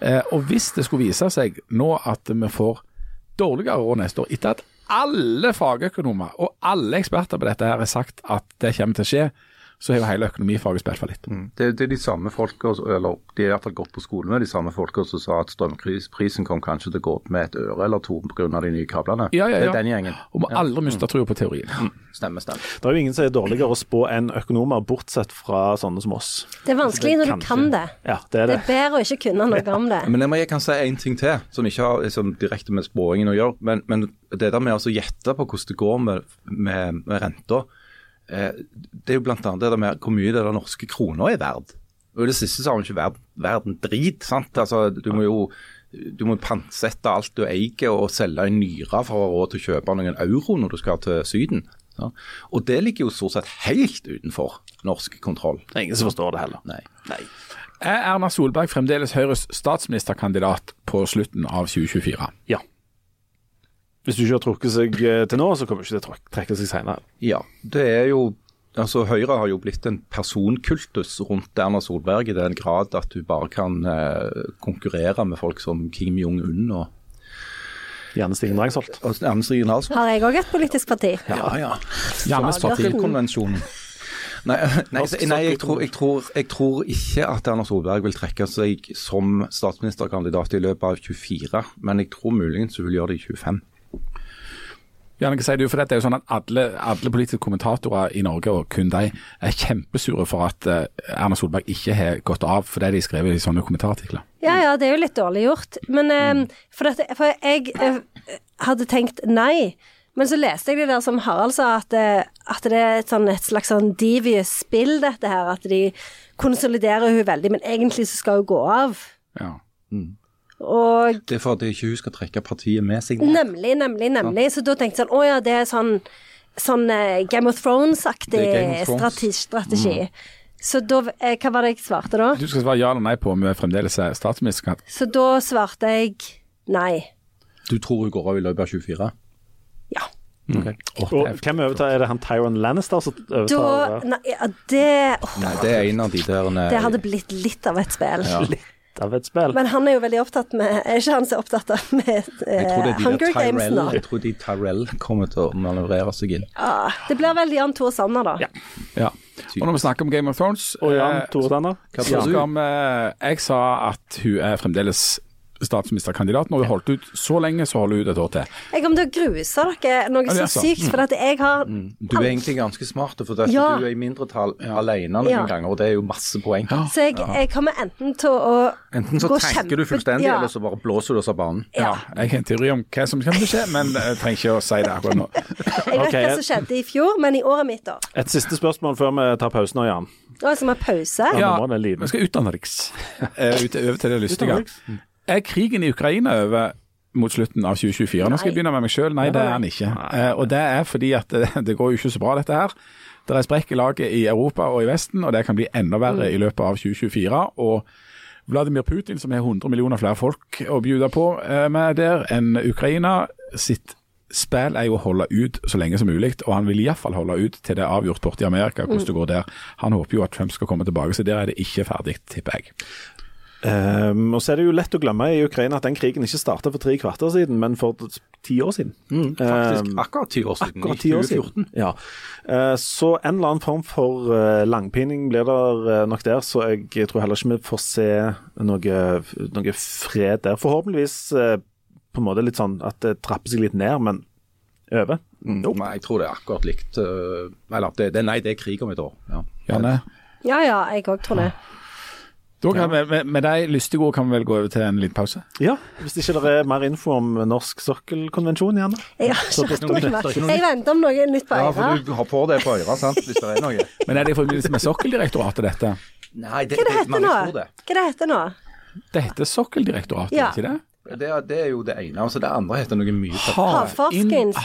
Eh, og hvis det skulle vise seg nå at vi får dårligere råd neste år, etter at alle fagøkonomer og alle eksperter på dette her har sagt at det kommer til å skje, så har jo hele økonomifaget spilt for litt.
Mm. Det, det er de samme folka, som- eller de er i hvert fall gått på skole med de samme folka som sa at strømprisen kom kanskje til å gå opp med et øre eller to pga. de nye kablene.
Ja, ja,
Det
ja.
er Mm. den gjengen.
Og må aldri miste trua på teorien.
Mm. Stemmer, stemmer.
Det er jo ingen som er dårligere å spå enn økonomer, bortsett fra sånne som oss.
Det er vanskelig når du kan det.
Ja, det er
Det
det.
er bedre å ikke kunne noe om det.
Men jeg, må- jeg kan si én ting til, som ikke har liksom, direkte med spåingen å gjøre. Men, men det der med å altså gjette på hvordan det går med, med, med renta, eh, det er jo bl.a. det der med hvor mye det der norske krona er verd. Og i det siste så har jo ikke verden, verden drit, sant. Altså, du må jo du må pantsette alt du eier og selge en nyre for å ha råd til å kjøpe noen euro når du skal til Syden. Ja. Og det ligger jo stort sett helt utenfor norsk kontroll.
Det er ingen som forstår det heller.
Nei.
Er Erna Solberg fremdeles Høyres statsministerkandidat på slutten av 2024?
Ja. Hvis du ikke har trukket seg eh, til nå, så kommer du ikke til å trak- trekke seg senere.
Ja, det er jo Altså, Høyre har jo blitt en personkultus rundt Erna Solberg i den grad at hun bare kan eh, konkurrere med folk som Kim Jong-un og,
Gjerne Stigen Drangsholt.
og Ernst Rien Halsvold.
Har jeg òg et politisk parti?
Ja, ja.
Jannes parti.
Konvensjonen. [LAUGHS] Nei, nei, så- nei jeg, tror, jeg, tror, jeg tror ikke at Erna Solberg vil trekke seg som statsministerkandidat i løpet av 24, men jeg tror muligens hun vil gjøre det i 25.
Janne, hva sier du? For dette er jo sånn at alle, alle politiske kommentatorer i Norge, og kun de, er kjempesure for at eh, Erna Solberg ikke har gått av fordi de skrev i sånne kommentarartikler.
Ja ja, det er jo litt dårlig gjort. Men
Mm.
eh, for, dette, for jeg eh, hadde tenkt nei. Men så leste jeg det der som Harald sa, at, eh, at det er et, sånn, et slags sånn devious spill, dette her. At de konsoliderer hun veldig, men egentlig så skal hun gå av.
Ja.
Og
Det er for at ikke hun skal trekke partiet med seg.
Nemlig, nemlig, nemlig. Så da tenkte jeg sånn, å ja, det er sånn, sånn eh, Game of Thrones-aktig
Det er Game of Thrones. Mm.
strate- strategi. Så da, eh, hva var det jeg svarte da?
Du skal svare ja eller nei på om hun fremdeles eh, er statsministerkandidat.
Så da svarte jeg nei.
Du tror hun går av i løpet av 24?
Ja.
Mm.
Åh,
Og
det er-
hvem overtar? Er det han Tyron Lannister som
Da,
overtar?
nei, ja, det, åh,
Nei, det er en av de der eh,
det hadde blitt litt av et spill.
Litt eh, av et spill.
Men han er jo veldig opptatt med, er ikke han så opptatt av med
Jeg tror det
eh,
er de
Hunger
der
Games
Tyrell,
nå?
jeg tror de Tyrell kommer til å manøvrere seg inn.
Ja, det blir vel Jan Tore Sanner, da.
Ja. Og når vi snakker om Game of Thrones
Og Jan
eh,
Tore Danner?
så skal vi, eh, Jeg sa at hun er fremdeles statsministerkandidat. Når hun holdt ut så lenge, så holder hun ut et år til.
Jeg kommer til å gruse dere noe
Ja, det er
så
sant.
sykt, for at jeg har
Du er egentlig ganske smart, for det, at
Ja.
du er i mindretall eh, alene noen
Ja.
ganger, og det er jo masse poeng.
Så jeg, jeg kommer enten til å
Enten så
gå
tenker du
kjempe-
fullstendig,
ja.
eller så bare blåser du oss av banen.
Ja, jeg har en teori om hva som kommer til å skje, men jeg trenger ikke å si det akkurat nå.
Jeg vet altså.
Ok,
hva som skjedde i fjor, men i året mitt, da.
Et siste spørsmål før vi tar pausen nå, Jan.
Nå som har pause.
Ja. nå må den lyden.
vi skal utenriks. [LAUGHS] Eh, ut- Over til det lystige. Mm.
Utenriks.
Er krigen i Ukraina over mot slutten av 2024? Nå skal jeg begynne med meg sjøl. Nei, det er den ikke. Eh, Og det er fordi at det, [LAUGHS] det går jo ikke så bra, dette her. Det er sprekk i laget i Europa og i Vesten, og det kan bli enda verre i løpet av 2024. og Vladimir Putin, som har 100 millioner flere folk å bjude på eh, med der enn Ukraina, sitt spill er jo å holde ut så lenge som mulig, og han vil iallfall holde ut til det er avgjort borte i Amerika, hvordan det går der. Han håper jo at Trump skal komme tilbake, så der er det ikke ferdig, tipper jeg.
Ehm, og så er det jo lett å glemme i Ukraina at den krigen ikke starta for tre kvarter siden, men for t- ti år siden.
Faktisk
Ehm,
akkurat ti år siden,
akkurat
i
ti år
2014.
siden. Ja. Eh, så en eller annen form for eh, langpining blir det eh, nok der, så jeg tror heller ikke vi får se noe, noe fred der. Forhåpentligvis eh, på en måte litt sånn at det trapper seg litt ned, men over.
Nei, jeg tror det er akkurat likt øh, Eller det, det, nei, det er krig om et år. Ja.
Janne?
Ja ja, jeg òg tror det.
Da kan vi, med, med de lystige ord kan vi vel gå over til en liten pause?
Ja, hvis ikke det er mer info om norsk sokkelkonvensjon, gjerne.
Jeg har ikke hatt noe mer.
ikke noe
Jeg venter om noe nytt på
ja,
øra.
for du har på det på øret, sant, hvis det er
[LAUGHS]
noe.
Men er det i forbindelse med Sokkeldirektoratet, dette?
Nei, det,
Hva det
det,
heter
mange
nå?
tror det.
Hva det heter nå?
Det heter Sokkeldirektoratet,
Ja.
ikke det?
det. er- Det er jo det ene. Altså, det andre heter noe mye tøffere.
Havforsknings-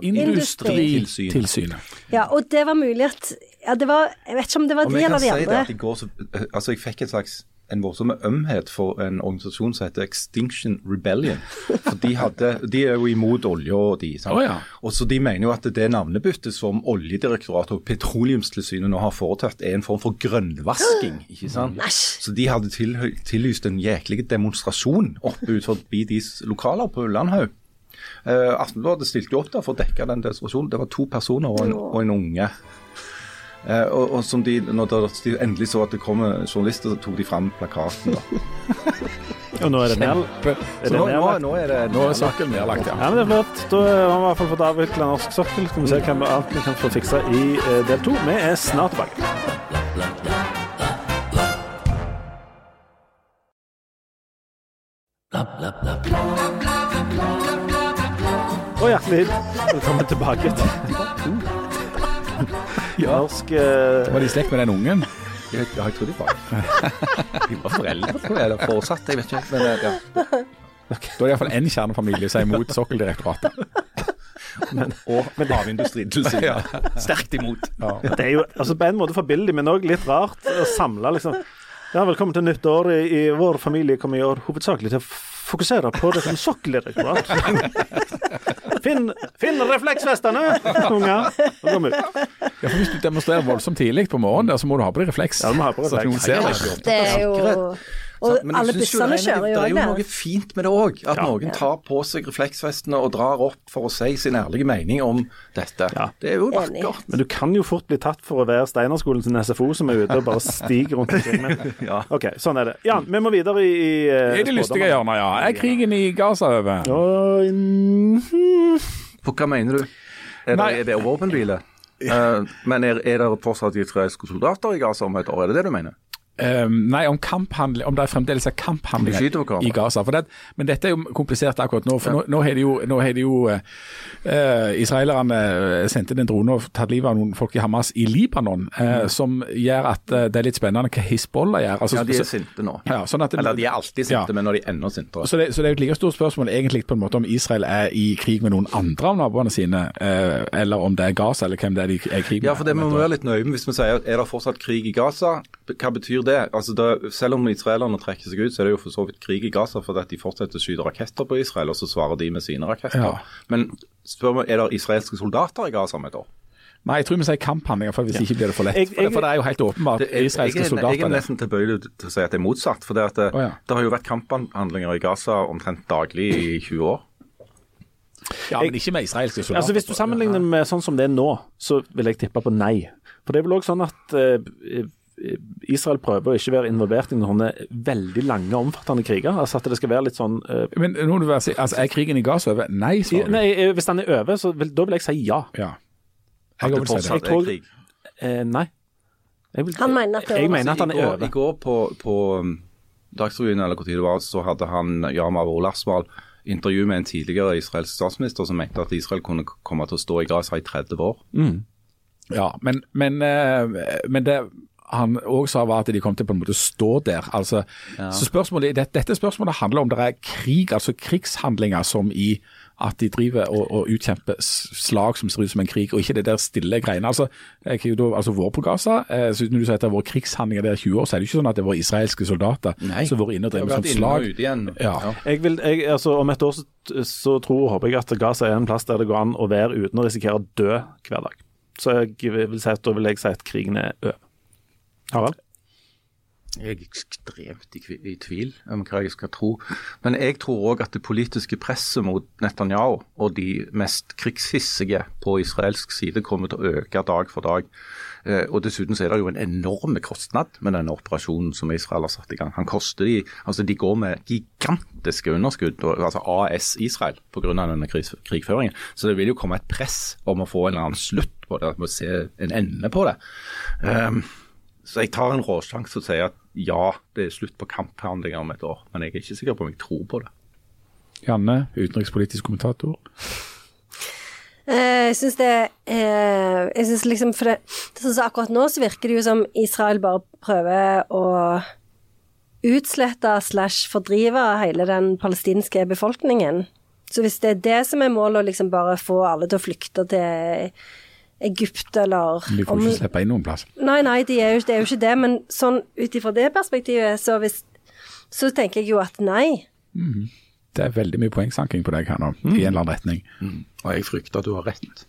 Havindustritilsynet.
Ja, og det var mulig at Ja, det var Jeg vet ikke om det var
Og
de
vi kan
eller de
si det
andre.
at i går så, altså jeg fikk en slags en voldsom ømhet for en organisasjon som heter Extinction
[LAUGHS]
Rebellion. For De, hadde, de er jo imot olje og de. Sant?
Å ja.
Og så De mener jo at det navnebyttet som Oljedirektoratet og Petroleumstilsynet nå har foretatt, er en form for grønnvasking. ikke sant?
Mm. Æsj.
Så de hadde tilhø- tillyst en jæklig demonstrasjon oppe utenfor deres lokaler på Ullandhaug. Uh, Aftenbladet stilte jo opp der for å dekke den demonstrasjonen. Det var to personer og en, og en unge. Eh, og, og som de, når de endelig så at det kom journalister, så tok de fram plakaten. da.
Og nå er det mer.
Så nå, nå, nå er det
Nå er saken nedlagt, ja.
Ja, men det er flott. Da har vi i hvert fall fått avvikla norsk sokkel. Skal vi se hva vi alt vi kan få fiksa i eh, del to. Vi er snart tilbake. Og hjertelig velkommen tilbake til
Ja.
norsk eh,
Var de i slekt med den ungen?
Jeg, jeg tror de var [LAUGHS] De var foreldre, tror jeg. Eller foresatte, jeg vet ikke. helt, Men, eh, ja.
Da er det iallfall én kjernefamilie som er imot Sokkeldirektoratet.
Og havindustri til [LAUGHS] siden. Sterkt imot.
Det er jo altså, på en måte forbilledlig, men òg litt rart å samle, liksom. Ja, velkommen til nytt år. I, i vår familie kommer i år hovedsakelig til å f- fokusere på det som sokkeldirektorat. Finn, finn refleksvestene, unger! Og kom ut.
Ja, for Hvis du demonstrerer voldsomt tidlig på morgenen, der, så må du ha på deg refleks.
Ja, du må ha på
Så at
refleks.
noen ser deg.
Det er jo
Sant,
Og
men jeg
alle
synes jo
bussene
det er-
kjører jo
Det
òg
er jo
der.
noe fint med det òg, at noen tar på seg refleksvestene og drar opp for å si sin ærlige mening om dette. Det er jo
Enig.
vakkert.
Men du kan jo fort bli tatt for å være Steinerskolen sin SFO som er ute og bare stiger rundt omkring. Men, OK, sånn er det. Jan, vi må videre i, i eh,
Det er det lystige
spådommer.
hjørnet, ja. Er krigen i Gaza over?
Og, mm,
På hva mener du? Er det,
Nei.
er det våpenhvile? Eh, men er, er det fortsatt israelske soldater i Gaza om et år? Er det det du mener?
Eh, nei, om, kamphandling- om det fremdeles er kamphandlinger
De skyter på
i
hverandre.
Gaza. For det, men dette er jo komplisert akkurat nå. For nå, nå har de jo, nå har de jo eh, eh, Israelerne eh, sendt inn en drone og tatt livet av noen folk i Hamas i Libanon, eh, som gjør at eh, det er litt spennende hva Hizbollah gjør. Altså,
Mm. Ja, de
så-
er sinte nå.
Ja, sånn at det-
Eller de er alltid sinte,
Ja.
men nå er de enda sintere.
så det, så det er jo et like stort spørsmål egentlig på en måte om Israel er i krig med noen andre av naboene sine, eh, eller om det er Gaza, eller hvem det er de er i krig med.
Ja, for det må vi være litt nøye med hvis vi sier at er det fortsatt krig i Gaza. Hva betyr det? Altså, det, Selv om israelerne trekker seg ut, så er det jo for så vidt krig i Gaza fordi at de fortsetter å skyte raketter på Israel, og så svarer de med sine raketter.
Ja.
Men spør meg, er det israelske soldater i Gaza om et år?
Nei, jeg tror vi sier kamphandlinger, for hvis ikke blir det for lett.
Jeg-
for, det, for det
jeg-
er jo helt åpenbart
Det- jeg, jeg,
israelske
er- jeg er
soldater der.
nesten tilbøyelig til å si at det er motsatt. For det, at det,
Å, ja.
det har jo vært kamphandlinger i Gaza omtrent daglig i 20 år.
Ja, men ikke med israelske soldater.
Altså Hvis du sammenligner med sånn som det er nå, så vil jeg tippe på nei. For det er vel òg sånn at eh, eh, Israel prøver å ikke være involvert i noen veldig lange og omfattende kriger. Altså at det skal være litt sånn eh,
Men nå må du være, si- altså, er krigen i Gaza over? Nei,
i,
svarer du.
Nei, eh, hvis den er over, så vil, da vil jeg si ja.
Ja.
At
Jeg
det
vil si det.
fortsatt
Jeg tror-
er krig.
Eh, nei. Jeg vil,
Han mener at det
jeg
er
mener at han
I
er
går- I
over.
går på, på um, Dagsrevyen eller hvor tid det var, så hadde han Yama Olasmal intervju med en tidligere israelsk statsminister som mente at Israel kunne k- komme til å stå i Gaza i 30 år.
Ja, men, men, eh, men det han òg sa var at de kom til på en måte å stå der. Altså, Så spørsmålet, det, Dette spørsmålet handler om det er krig, altså krigshandlinger som i at de driver og, og utkjemper s- slag som ser ut som en krig, og ikke det der stille greiene. Altså, jeg har jo da, altså vært på Gaza, eh, så når du sier at det har vært krigshandlinger der i 20 år, så er det ikke sånn at det har vært israelske soldater som har vært inne og drevet med sånt
inne og
slag.
ute igjen.
Ja.
Jeg vil, jeg, altså, om et år så, så tror og håper jeg at Gaza er en plass der det går an å være uten å risikere å dø hver dag. Så jeg vil si at da vil jeg si at krigen er over. Harald?
Jeg er ekstremt i, kvi- i tvil om hva jeg skal tro. Men jeg tror òg at det politiske presset mot Netanyahu og de mest krigshissige på israelsk side kommer til å øke dag for dag. Eh, Og Dessuten så er det jo en enorm kostnad med denne operasjonen som Israel har satt i gang. Han koster de, altså De går med gigantiske underskudd, og- altså AS Israel, pga. denne krigs- krigføringen. Så det vil jo komme et press om å få en eller annen slutt på det, at vi må se en ende på det. Ehm, så jeg tar en råsjanse og sier at ja, det er slutt på kamphandlinger om et år. Men jeg er ikke sikker på om jeg tror på det.
Janne, utenrikspolitisk kommentator.
Eh, Jeg syns det eh, Jeg syns liksom For det, det synes jeg akkurat nå så virker det jo som Israel bare prøver å utslette slash fordrive hele den palestinske befolkningen. Så hvis det er det som er målet, å liksom bare få alle til å flykte til Egypt eller
De får
om-
ikke slippe inn noen plass.
Nei, nei, de er jo, det er jo ikke det, men sånn ut ifra det perspektivet, så hvis Så tenker jeg jo at nei.
Det er veldig mye poengsanking på deg her nå, i en eller annen retning.
Mm. Og jeg frykter at du har rett.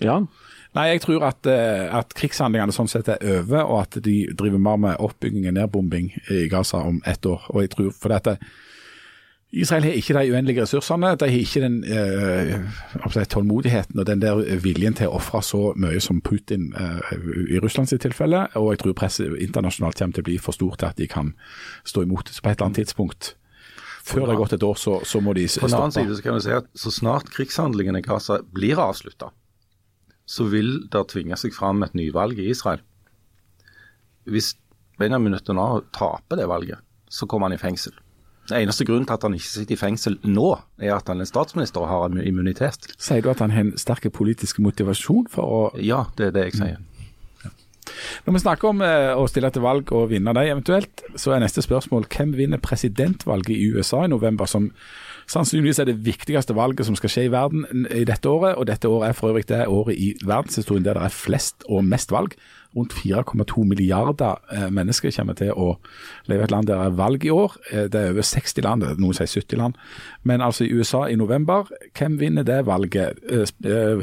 Jan?
Nei, jeg tror at, eh, at krigshandlingene sånn sett er over, og at de eh, driver mer med oppbygging og nedbombing i Gaza om ett år. Og jeg tror, for dette eh, Israel har ikke de uendelige ressursene. De har ikke den eh, hva skal jeg si, tålmodigheten og den der viljen til å ofre så mye som Putin eh, i Russlands tilfelle. Og jeg tror presset internasjonalt kommer til å bli for stort til at de kan stå imot. Så på et eller annet tidspunkt, før det har gått et år, så, så må de
På
stoppe.
den annen side så kan vi si at så snart krigshandlingene i Gaza blir avslutta, så vil det tvinge seg fram et nyvalg i Israel. Hvis Benjamin Netanyahu taper det valget, så kommer han i fengsel. Den eneste grunnen til at han ikke sitter i fengsel nå, er at han er statsminister og har immunitet.
Sier du at han har en sterk politisk motivasjon for å
Ja, det er det jeg sier.
Når vi snakker om eh, å stille til valg og vinne de eventuelt, så er neste spørsmål hvem vinner presidentvalget i USA i november, som sannsynligvis er det viktigste valget som skal skje i verden n- i dette året. Og dette året er for øvrig det året i verdenshistorien der det er flest og mest valg. Rundt 4,2 milliarder eh, mennesker kommer til å leve i et land der det er valg i år. Eh, Det er over 60 land, eh, noen sier 70 land. Men altså i USA i november, hvem vinner det valget? Eh, sp- eh,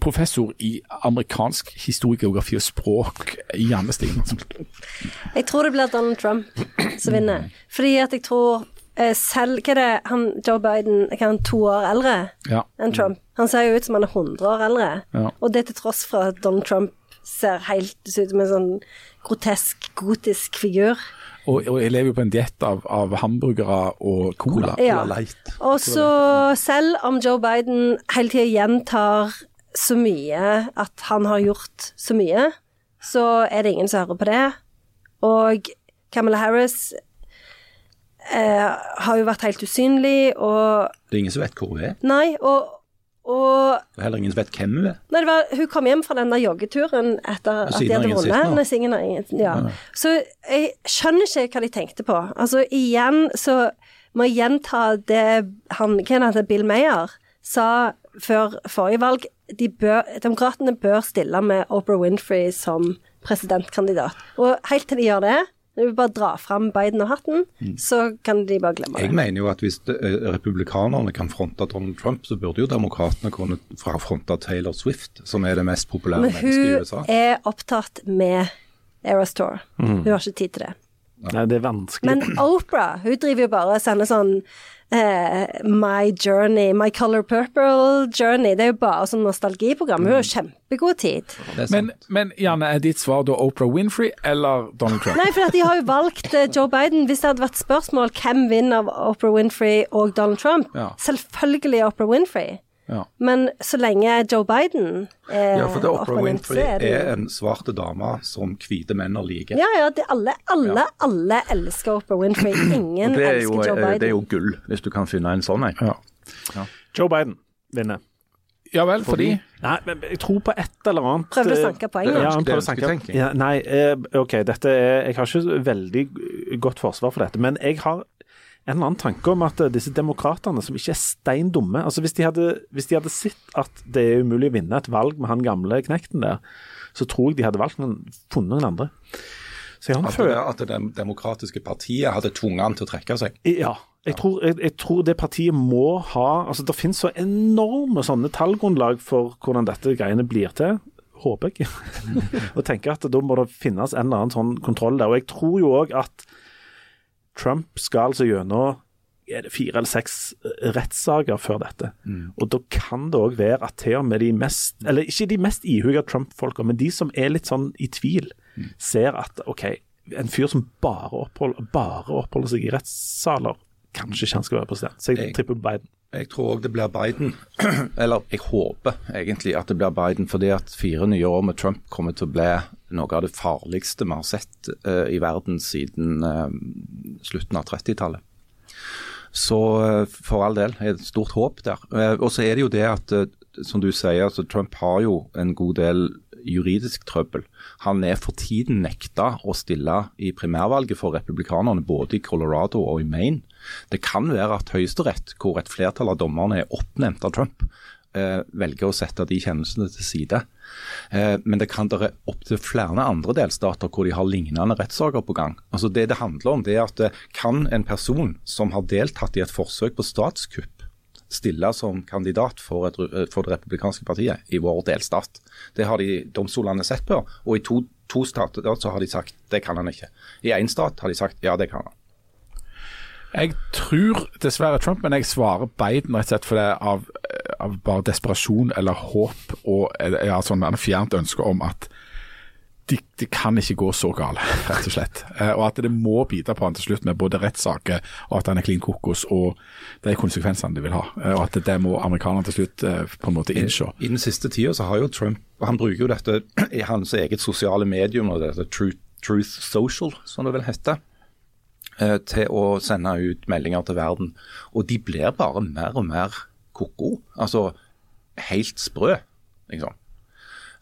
professor i amerikansk historiegeografi og språk, Janne Stigensen.
Jeg tror det blir Donald Trump som vinner. Fordi at jeg tror eh, selv Hva er det han Joe Biden Er han to år eldre
Ja.
enn Trump? Han ser jo ut som han er 100 år eldre.
Ja.
Og det til tross for at Donald Trump ser helt ut som en sånn grotesk, gotisk figur.
Og, og jeg lever jo på en diett av, av hamburgere og cola.
Ja. Og så selv om Joe Biden hele tida gjentar så mye at han har gjort så mye, så er det ingen som hører på det. Og Kamala Harris eh, har jo vært helt usynlig, og
Det er ingen som vet hvor hun er.
Nei, og, og
Det er heller ingen som vet hvem hun er.
Nei, det var, hun kom hjem fra den der joggeturen etter at de
siden har
hadde
ingen sett
vunnet.
noe.
Nei, siden har ingen- Ja. Så jeg skjønner ikke hva de tenkte på. Altså igjen så må jeg gjenta det han, hva heter det, Bill Mayer sa før forrige valg. De bør, demokratene bør stille med Oprah Winfrey som presidentkandidat. Og helt til de gjør det, når vi bare drar fram Biden og hatten, så kan de bare glemme
Mm. Jeg
det.
mener jo at hvis det, eh, republikanerne kan fronte Donald Trump, så burde jo demokratene kunne fra- fronte Taylor Swift, som er det mest populære
Men
mennesket i
hun
USA. Mm.
er opptatt med Eras Tour. Hun har ikke tid til det.
Nei, det er vanskelig.
[CLEARS THROAT]
Men Oprah, hun driver jo bare og sender sånn eh, My Journey, My Color Purple Journey. Det er jo bare sånn nostalgiprogram. Hun har jo kjempegod tid.
Det er sant.
Men, men Janne, er ditt svar da Oprah Winfrey eller Donald Trump?
Nei, for at de har jo valgt eh, Joe Biden. Hvis det hadde vært spørsmål hvem vinner av Oprah Winfrey og Donald Trump,
Ja.
selvfølgelig Oprah Winfrey.
Ja.
Men så lenge Joe Biden er
ja, for det er Oprah
opponent, så
Winfrey
det jo-
er en svarte dame som hvite menn liker.
ja, ja, det alle, alle, alle elsker Oprah
[CLEARS THROAT]
Winfrey. Ingen
Det er, jo, eh,
elsker Joe Biden.
det er jo gull, hvis du kan finne en sånn en.
Ja.
Joe Biden vinner.
ja vel, fordi
Nei, men jeg tror på et eller annet eh,
Prøver å sanke poenget.
Ja, han
Det er
prøver å sanke.
ønsketenking.
Ja, nei, eh, OK, dette er Jeg har ikke veldig godt forsvar for dette, men jeg har en eller annen tanke om at eh, disse demokratene som ikke er stein dumme altså hvis, de hadde- hvis de hadde sett at det er umulig å vinne et valg med han gamle knekten der, så tror jeg de hadde valgt noen, funnet noen andre. Så jeg har en
At
følelse
det, at det dem- demokratiske partiet hadde tvunget han til å trekke seg.
Ja. Jeg tror, jeg, jeg tror det partiet må ha altså Det finnes så enorme sånne tallgrunnlag for hvordan dette greiene blir til, håper jeg. [LAUGHS] og tenker at da må det finnes en eller annen sånn kontroll der. Og jeg tror jo òg at Trump skal altså gjennom er det fire eller seks eh, rettssaker før dette.
Mm.
Og da kan det òg være at til og med de mest Eller ikke de mest ihuga Trump-folka, men de som er litt sånn i tvil,
Mm.
ser at OK, en fyr som bare oppholder, bare oppholder seg i rettssaler, kanskje ikke han skal være president. Så jeg
Jeg-
tripper Biden.
Jeg tror òg det blir Biden. [CLEARS THROAT] Eller jeg håper egentlig at det blir Biden, fordi at fire nye år med Trump kommer til å bli noe av det farligste vi har sett eh, i verden siden eh, slutten av 30-tallet. Så eh, for all del, er det et stort håp der. Eh, og så er det jo det at, eh, som du sier, altså Trump har jo en god del juridisk trøbbel. Han er for tiden nekta å stille i primærvalget for republikanerne, både i Colorado og i Maine. Det kan være at Høyesterett, hvor et flertall av dommerne er oppnevnt av Trump, eh, velger å sette de kjennelsene til side. Eh, men det kan være opptil flere andre delstater hvor de har lignende rettssaker på gang. Altså Det det handler om, det er at eh, kan en person som har deltatt i et forsøk på statskupp, stille som kandidat for, et, eh, for det republikanske partiet i vår delstat. Det har de domstolene sett på, og i to, to stater så har de sagt det kan han ikke. I én stat har de sagt ja, det kan han.
Jeg tror dessverre Trump, men jeg svarer Biden rett og slett for det av, av bare desperasjon eller håp og ja, sånn en fjernt ønske om at det de kan ikke gå så galt, [LAUGHS] rett og slett. Eh, Og at det må bite på han til slutt med både rettssaker og at han er klin kokos og de konsekvensene de vil ha. Eh, Og at det må amerikanerne til slutt eh, på en måte innse.
I den siste tida så har jo Trump Han bruker jo dette [CLEARS THROAT] i hans eget sosiale medium, og dette Truth, Truth Social, som det vel heter, eh, til å sende ut meldinger til verden. Og de blir bare mer og mer ko-ko. Altså helt sprø, liksom.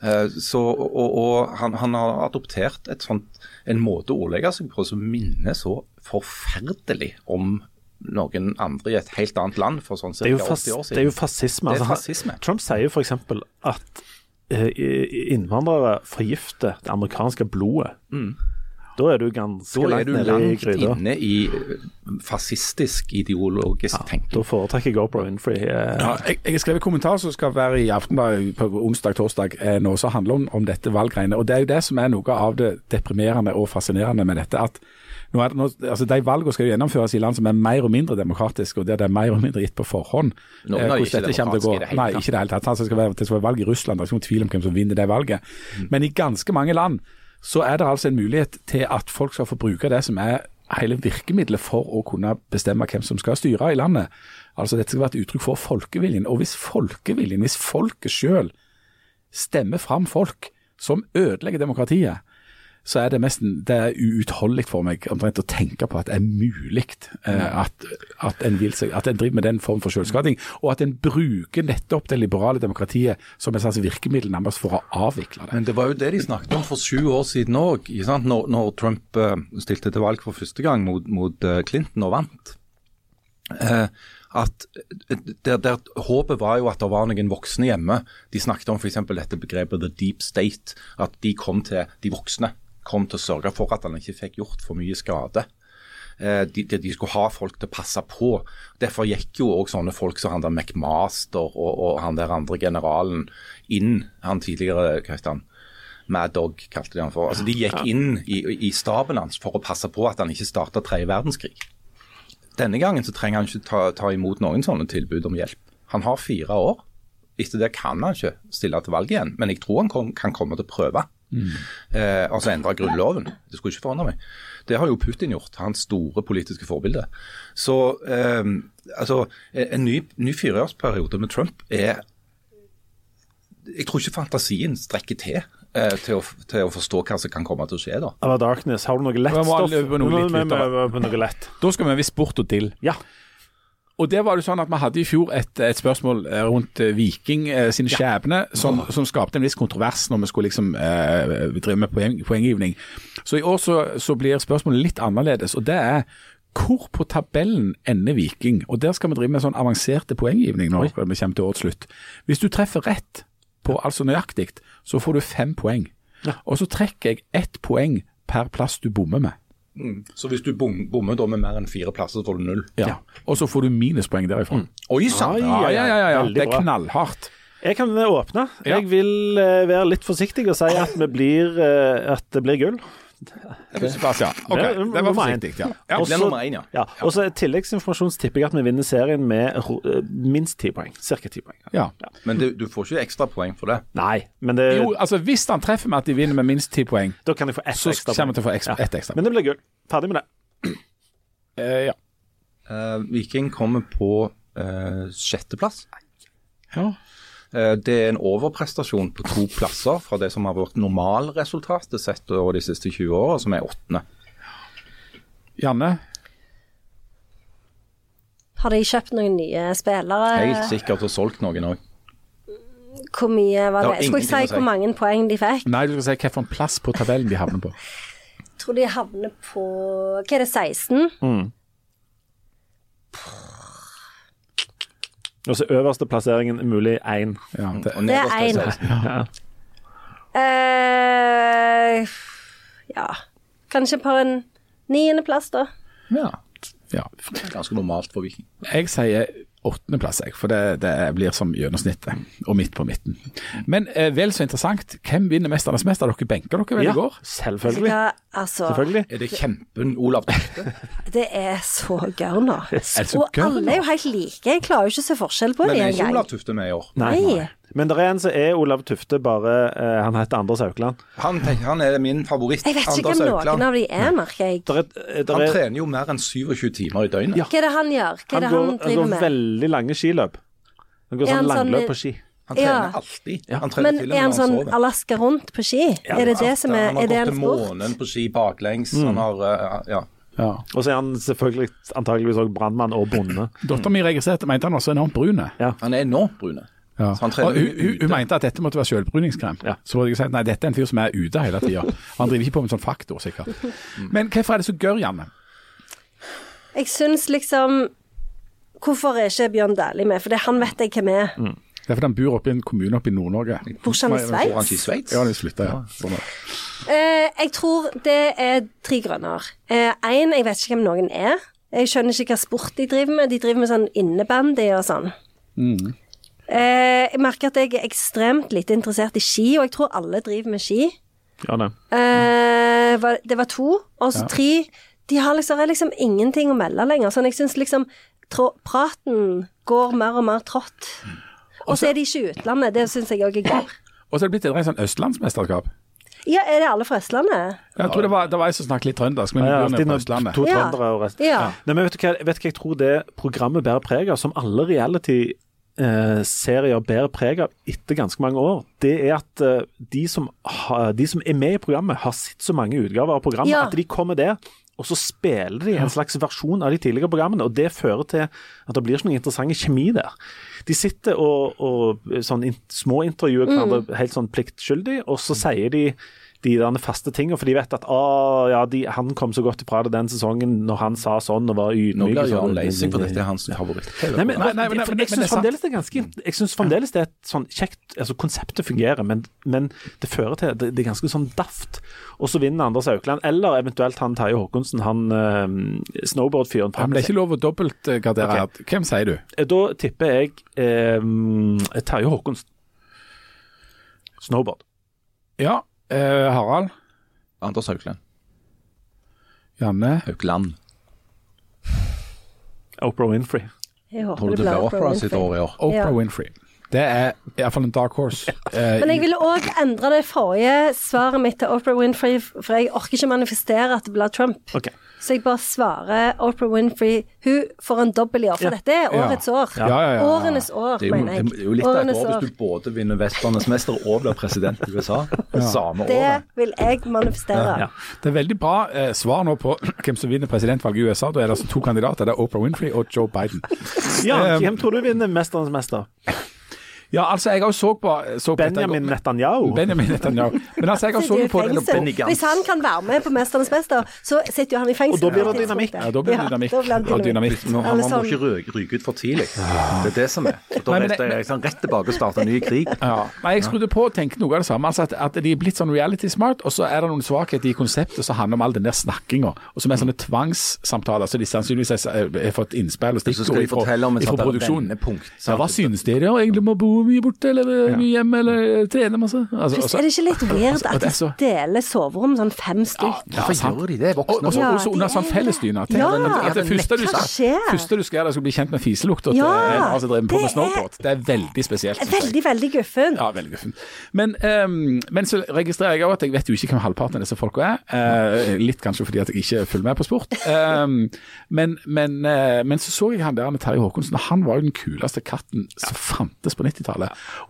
Eh, Så, og og han, han har adoptert et sånt, en måte å ordlegge seg på som minner så forferdelig om noen andre i et helt annet land for sånn
Det er
ca.
jo, fas,
80 år
det er
siden.
jo fascisme.
Det er
altså, han-
fascisme.
Trump sier jo f.eks. at eh, i- innvandrere forgifter det amerikanske blodet. Da er du ganske
Mm. Da er
langt
du
nede i
langt
gryta.
inne i eh, fascistisk ideologisk
Da
tenking.
foretrekker GoPro Winfrey eh,
Ja, jeg, jeg skrev en kommentar som skal være i Aftenbladet på onsdag, torsdag eh, nå, som handler om, om dette valggreiene. Og Det er jo det som er noe av det deprimerende og fascinerende med dette. at nå er det, nå, altså De valgene skal jo gjennomføres i land som er mer og mindre demokratiske, og der det er mer og mindre gitt på forhånd.
Noen er
Eh, hvordan
ikke
dette kommer til å
demokratiske i det hele
Nei,
tatt.
ikke i det hele tatt. Altså, Det skal være, det skal være valg i Russland, det er ikke noen tvil om hvem som vinner det valget.
Mm.
Men i ganske mange land så er det altså en mulighet til at folk skal få bruke det som er hele virkemidlet for å kunne bestemme hvem som skal styre i landet. Altså Dette skal være et uttrykk for folkeviljen. Og hvis folkeviljen, hvis folket sjøl stemmer fram folk som ødelegger demokratiet, så er det nesten det er uutholdelig for meg omtrent å tenke på at det er mulig eh, at, at, en vil seg, at en driver med den form for selvskading, og at en bruker nettopp det liberale demokratiet som et slags virkemiddel nærmest for å avvikle det.
Men det var jo det de snakket om for sju år siden òg, når, når Trump eh, stilte til valg for første gang mot, mot eh, Clinton og vant. Eh, at eh, der, der, Håpet var jo at det var noen voksne hjemme. De snakket om f.eks. dette begrepet 'the deep state'. At de kom til de voksne kom til å sørge for at han ikke fikk gjort for mye skade. Eh, de, de, de skulle ha folk til å passe på. Derfor gikk jo òg sånne folk som han der McMaster og, og han der andre generalen inn. Han tidligere, hva heter han? Mad Dog kalte de han for. Altså De gikk inn i, i staben hans for å passe på at han ikke starta tredje verdenskrig. Denne gangen så trenger han ikke ta, ta imot noen sånne tilbud om hjelp. Han har fire år. Etter det kan han ikke stille til valg igjen, men jeg tror han kom, kan komme til å prøve. Eh, altså endre grunnloven. Det skulle ikke forandre meg. Det har jo Putin gjort, hans store politiske forbilde. Så eh, altså, en ny, ny fireårsperiode med Trump er Jeg tror ikke fantasien strekker til eh, til, å, til å forstå hva som kan komme til å skje da.
Eller Darkness. Har du noe lett
Vi må
stoff?
alle øve på noe litt
Nå må vi
lettere.
øve på noe lett.
Da skal vi over i sport og dill.
Ja.
Og der var det jo sånn at Vi hadde i fjor et, et spørsmål eh, rundt eh, Viking eh, sin skjebne, som, som skapte en viss kontrovers når vi skulle liksom eh, drive med poeng, poenggivning. Så i år så, så blir spørsmålet litt annerledes, og det er hvor på tabellen ender Viking? Og Der skal vi drive med sånn avanserte poenggivning nå. når vi kommer til årets slutt. Hvis du treffer rett på altså nøyaktig, så får du fem poeng. Og så trekker jeg ett poeng per plass du bommer med.
Så hvis du bom, bommer da med mer enn fire plasser, så får du null.
Ja. Og så får du minuspoeng derifra.
Oi
Ai,
sann!
Ja,
ai,
ja, ja, ja, ja.
Veldig
Det er
bra.
knallhardt.
Jeg kan åpne.
Ja.
Jeg vil eh, være litt forsiktig og si at, vi blir, eh, at det blir gull.
Sebastian. Ok,
Ja,
det var
nummer én.
forsiktig. Ja. Ja.
Også-
det er nummer én, ja.
ja. Og så tilleggsinformasjon så tipper jeg at vi vinner serien med ro- eh, minst ti poeng. Cirka ti poeng.
Ja.
Men du, du får ikke ekstra poeng for det.
Nei, men det,
Jo, altså Hvis han treffer med at de vinner med minst ti poeng,
da kan jeg få ett
så
ekstra
kommer han
poeng.
til å få eks- ett ekstra.
Men det blir gull. Ferdig med det.
Eh, ja.
Eh, Viking kommer på eh, sjetteplass.
Ja.
Eh, det er en overprestasjon på to plasser fra det som har vært normalresultatet sett over de siste 20 åra, som er åttende.
Janne?
Har de kjøpt noen nye spillere?
Helt sikkert og solgt noen òg.
Hvor mye var
Det
det? Skulle
har
jeg
ingenting å
si
si.
hvor mange poeng de fikk?
Nei, du skal si hvilken plass på tabellen de havner på.
Jeg tror de havner på Hva er det, 16?
Og så øverste plasseringen mulig én.
Ja, det,
Og
Det er
nederst
én. Eh,
16.
ja Kanskje på en niendeplass, da.
Ja.
ja.
Ganske normalt for Viking.
Jeg sier åttendeplass, jeg. For det, det blir som gjennomsnittet, og midt på midten. Men eh, vel så interessant, hvem vinner Mesternes mester? Dere benker dere vel
Ja,
i går?
selvfølgelig.
Ja, altså,
Selvfølgelig.
Er det kjempen Olav Tufte?
det er så gørna.
så
Og
gørna?
alle er jo helt like. Jeg klarer jo ikke å se forskjell på
Men
dem
er ikke
engang.
Olav Tufte med i år?
Nei.
Nei.
Men det er en som er Olav Tufte, bare eh, han heter Anders Haukeland.
Han, tenk- han er min favoritt.
Jeg vet ikke
Anders
hvem
Aukland.
noen av de er, merker jeg.
Der er, eh, der
Han
er,
trener jo mer enn 27 timer i døgnet.
Ja.
Hva er det han gjør? Hva er
han,
det han
går, han
driver
går
med?
veldig lange skiløp. Han går
Er
sånn
han sånn-
langløp på ski.
Han trener
Ja.
alltid. Han trener
Men
til og med
er han
når
sånn
sover.
Alaska rundt på ski? Er det det som er
Han
Er
har
det
gått
en
til
sport?
månen på ski baklengs. Han har eh, ja.
Ja.
Og så er han selvfølgelig antageligvis også brannmann og bonde.
Dattera mi registrerte, mente han var så enormt brun.
Han er enormt brun.
Ja.
Så han
Og
trener
hun,
mye
hun,
ute.
hun mente at dette måtte være selvbruningskrem.
Ja.
Så hadde jeg sagt nei, dette er en fyr som er ute hele tida. Han driver ikke på med sånn faktor, sikkert. Men hvorfor er det så gørr, Janne?
Jeg syns liksom Hvorfor er ikke Bjørn Dæhlie med? For det han vet jeg hvem er.
Det er fordi han bor oppe i en kommune oppe i Nord-Norge.
Bor ikke han i
Bor han ikke i
Sveits?
Sveits?
Ja, han slutta, ja. Sånn er det.
Eh, jeg tror det er tre grønner. Én, jeg vet ikke hvem noen er. Jeg skjønner ikke hva sport de driver med. De driver med sånn innebandy og sånn. Eh, jeg merker at jeg er ekstremt lite interessert i ski, og jeg tror alle driver med ski.
Ja, det.
Eh, var- det var to, og så tre. De har liksom, er liksom ingenting å melde lenger. Sånn, jeg syns liksom trå, praten går mer og mer trått.
Mm.
Og så er de ikke i utlandet. Det syns jeg òg er gøy.
Og så er det blitt et rent sånn østlandsmesterskap.
Ja, er det alle fra Østlandet?
Jeg tror det var, det var jeg som snakket litt trøndersk, men
Ja,
ja,
alltid
på
noen
Østlandet.
to
Ja.
trøndere og rest.
Ja.
Nei, men vet du, hva, vet du hva jeg tror det programmet bærer preg av, som alle reality-serier bærer preg av etter ganske mange år? Det er at eh, de, som har- de som er med i programmet, har sett så mange utgaver av programmet
Ja.
at de kommer der. Og så spiller de en slags versjon av de tidligere programmene, og det fører til at det blir så noe interessant kjemi der. De sitter og, og sånn in små intervjuer hverandre helt sånn pliktskyldig, og så sier de de der faste tingene, for de vet at ah, ja, de, han kom så godt ifra det den sesongen når han sa sånn og var ydmyk.
Nå blir
og sånn.
Jørn lei seg, for dette er hans favoritt.
Nei, men,
Nei, nei, men-
for
men- men
jeg
det er
syns
sant.
fremdeles det er ganske Jeg synes fremdeles det er et sånn kjekt altså Konseptet fungerer, men, men det fører til det, det er ganske sånn daft. Og så vinner Anders Aukland, eller eventuelt han Terje Håkonsen, han eh, snowboardfyren.
Ja, men det er ikke lov å dobbeltgardere her. Hvem sier du?
Da tipper jeg eh, Terje Håkonsen. Snowboard.
Ja, eh, Harald.
Anders Haugland.
Janne.
Haugland.
Oprah Winfrey.
Jeg håper
Tror du
det
det
blir
blir
Oprah
Opera sitt
Winfrey.
år i år?
Oprah
Ja.
Winfrey. Det er iallfall en dark horse. Eh,
Men jeg
i-
ville òg endre det forrige svaret mitt til Oprah Winfrey, for jeg orker ikke manifestere at det blir Trump.
Ok.
Så jeg bare svarer Oprah Winfrey Hun får en dobbel i år, for dette er
Ja.
årets år.
Ja, ja, ja, ja.
Årenes år,
Det er, jo,
mener jeg.
det er jo litt av et
Årenes
år
år.
hvis du både vinner Vesternes mester og blir president i USA. Samme
Det
året.
vil jeg manifestere.
Ja.
det er veldig bra eh, svar nå på [CLEARS THROAT] hvem som vinner presidentvalget i USA. Da er det altså to kandidater. Det er Oprah Winfrey og Joe Biden. Ehm,
Ja, hvem tror du vinner Mesternes mester?
Ja, altså, jeg har jo så på så på dette-
Benjamin Netanyahu?
Benjamin Netanyahu. Men altså,
[LAUGHS]
jeg har
Sitter
så
jo i
på
fengsel.
på-
Hvis han kan være med på 'Mesternes mester', så sitter jo han i fengsel.
Og da blir det
på et tidspunkt.
dynamikk.
Ja, da blir det dynamikk.
da blir det
Og dynamikk.
Nå, han
Eller
man
sånn-
må ikke ryke, ryke ut for tidlig. Det er det som er. Og Da
Nei, men
reiser
det-
jeg liksom rett tilbake og starter en ny krig.
Ja. Nei, jeg skrudde på og tenkte noe av det samme. Altså at, at de er blitt sånn reality smart, og så er det noen svakheter i konseptet som handler om all den der snakkinga, og som er sånne tvangssamtaler som de sannsynligvis har har fått innspill og
Så skal
stikkord
de fortelle om et sånt
fra
der
produksjonen.
vendepunkt, sant?
Ja, hva synes dere om egentlig om å bo mye borte, eller mye hjemme, eller eh, trene masse? Altså,
Hvis-
altså-
Er det ikke litt weird
og det
at de
er så-
deler soverom sånn fem stykk?
Hvorfor
sant.
gjør de det?
og, og
Voksne
så
Ja,
også under
det
sånn
er-
fellesdyne. Tenk
Ja.
at det første du,
Hva
skal,
skjer?
første du skal gjøre, er å bli kjent med fiselukt til
Ja,
en som driver på
det
med
er-
snowboard. Det er veldig spesielt. synes jeg.
Veldig, veldig guffen.
[LAUGHS] Ja, veldig guffen. Men, ehm, men så registrerer jeg også at jeg vet jo ikke hvem halvparten av disse folka er. Eh, litt kanskje fordi at jeg ikke følger med på sport. Ehm, men, men, eh, men så så jeg han der med Terje Håkonsen, og han var jo den kuleste katten som fantes på 90-tallet.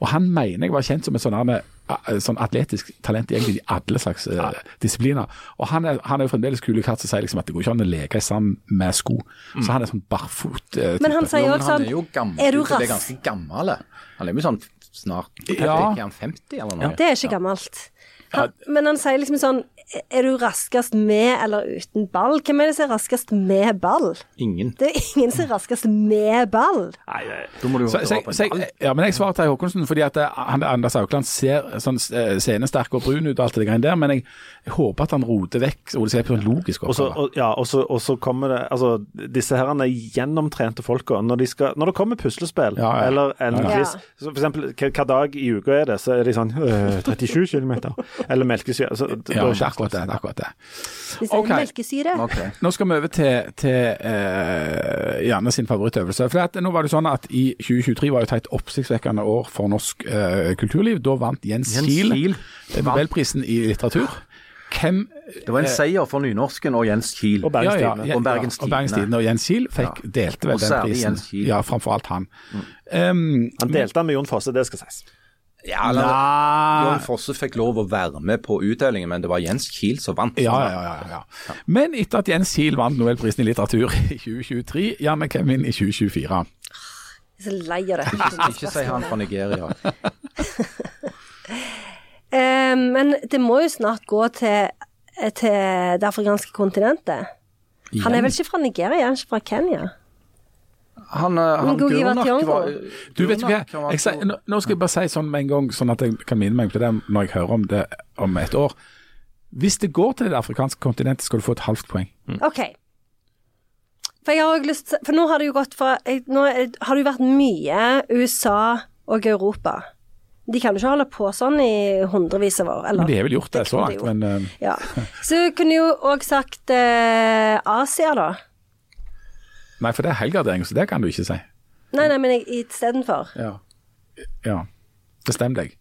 Og han mener jeg var kjent som et sånn her, eh, sånn atletisk talent egentlig i alle slags eh, disipliner. Og han er, han er jo fremdeles kul i katt som sier liksom at det går ikke an å leke i sand med sko. Så han er sånn barfot. eh,
Men han
type.
sier
Jo,
jo
men
også
han er jo
sånn
gammel,
Er du
så det er
rass?
ganske gammel. eh. Han er jo sånn snart
Ja.
Er ikke han 50 eller noe?
Det er ikke gammelt. Han, men han sier liksom sånn er du raskest med eller uten ball? Hvem er det som er raskest med ball?
Ingen.
Det er ingen som er raskest med ball.
Nei, nei.
Da må du
Så, så, så, ja, men jeg svarer til Håkonsen fordi at eh, han, Anders Haukeland ser sånn eh, scenesterk og brun ut, og alt det greiene der, men jeg, jeg håper at han roter vekk Ole Sepp sånn logisk.
Og så,
oppgave.
og, ja, og, så, og så kommer det Altså, disse her er gjennomtrente folka. Når, de skal- når det kommer puslespill
Ja, ja.
eller en
Ja.
quiz så For eksempel, hva, hva dag i uka er det? Så er de sånn øh, 37 km. Eller melkesyre. Så,
Ja,
da-
det er akkurat det. det, er akkurat det.
Hvis det er
Ok.
melkesyre.
Nå skal vi over til, til eh, Janne sin favorittøvelse. For at, nå var det sånn at I 2023 var jo et helt oppsiktsvekkende år for norsk eh, kulturliv. Da vant Jens,
Jens
Kiel
Kiel.
eh, Nobelprisen i litteratur. Hvem
Det var en seier for nynorsken Eh. og Jens Kiel.
Og Bergens Tidende.
ja,
Og Bergens
og Bergens
Tidende.
Tidende. Og Jens Kiel fikk, delte vel
Og
den
særlig
prisen.
Jens Kiel.
Ja, framfor alt han. Um,
Han delte den med Jon Fosse, det skal sies.
Ja, eller- Jon
Ah.
Fosse fikk lov å være med på utdelingen, men det var Jens Kiel som vant.
Ja, ja, ja, ja, ja. Men etter at Jens Kiel vant Nobelprisen i litteratur i 2023, Janne hvem vinner i 2024?
Jeg er så lei av det.
Ikke si han fra Nigeria.
Eh, men det må jo snart gå til, eh, til det afrikanske kontinentet. Han er vel ikke fra Nigeria, han er ikke fra Kenya?
Han, eh, han
Ngozi
Gurnak
Wationgo.
var
Du vet hva,
Gurnak var
jeg, sier- nå- nå skal jeg bare si sånn med en gang, sånn at jeg kan minne meg på det når jeg hører om det om et år. Hvis det går til det afrikanske kontinentet, skal du få et halvt poeng.
OK. For jeg har også lyst til For nå har det jo gått fra jeg- Nå er- har det jo vært mye USA og Europa. De kan jo ikke holde på sånn i hundrevis av år, eller?
Men de har vel gjort det så
kunne de
langt, men eh,
Ja. Så kunne jeg jo òg sagt eh, Asia, da.
Nei, for det er helgardering, så det kan du ikke si.
Nei, nei, men jeg- istedenfor.
Ja. ja. Bestem deg.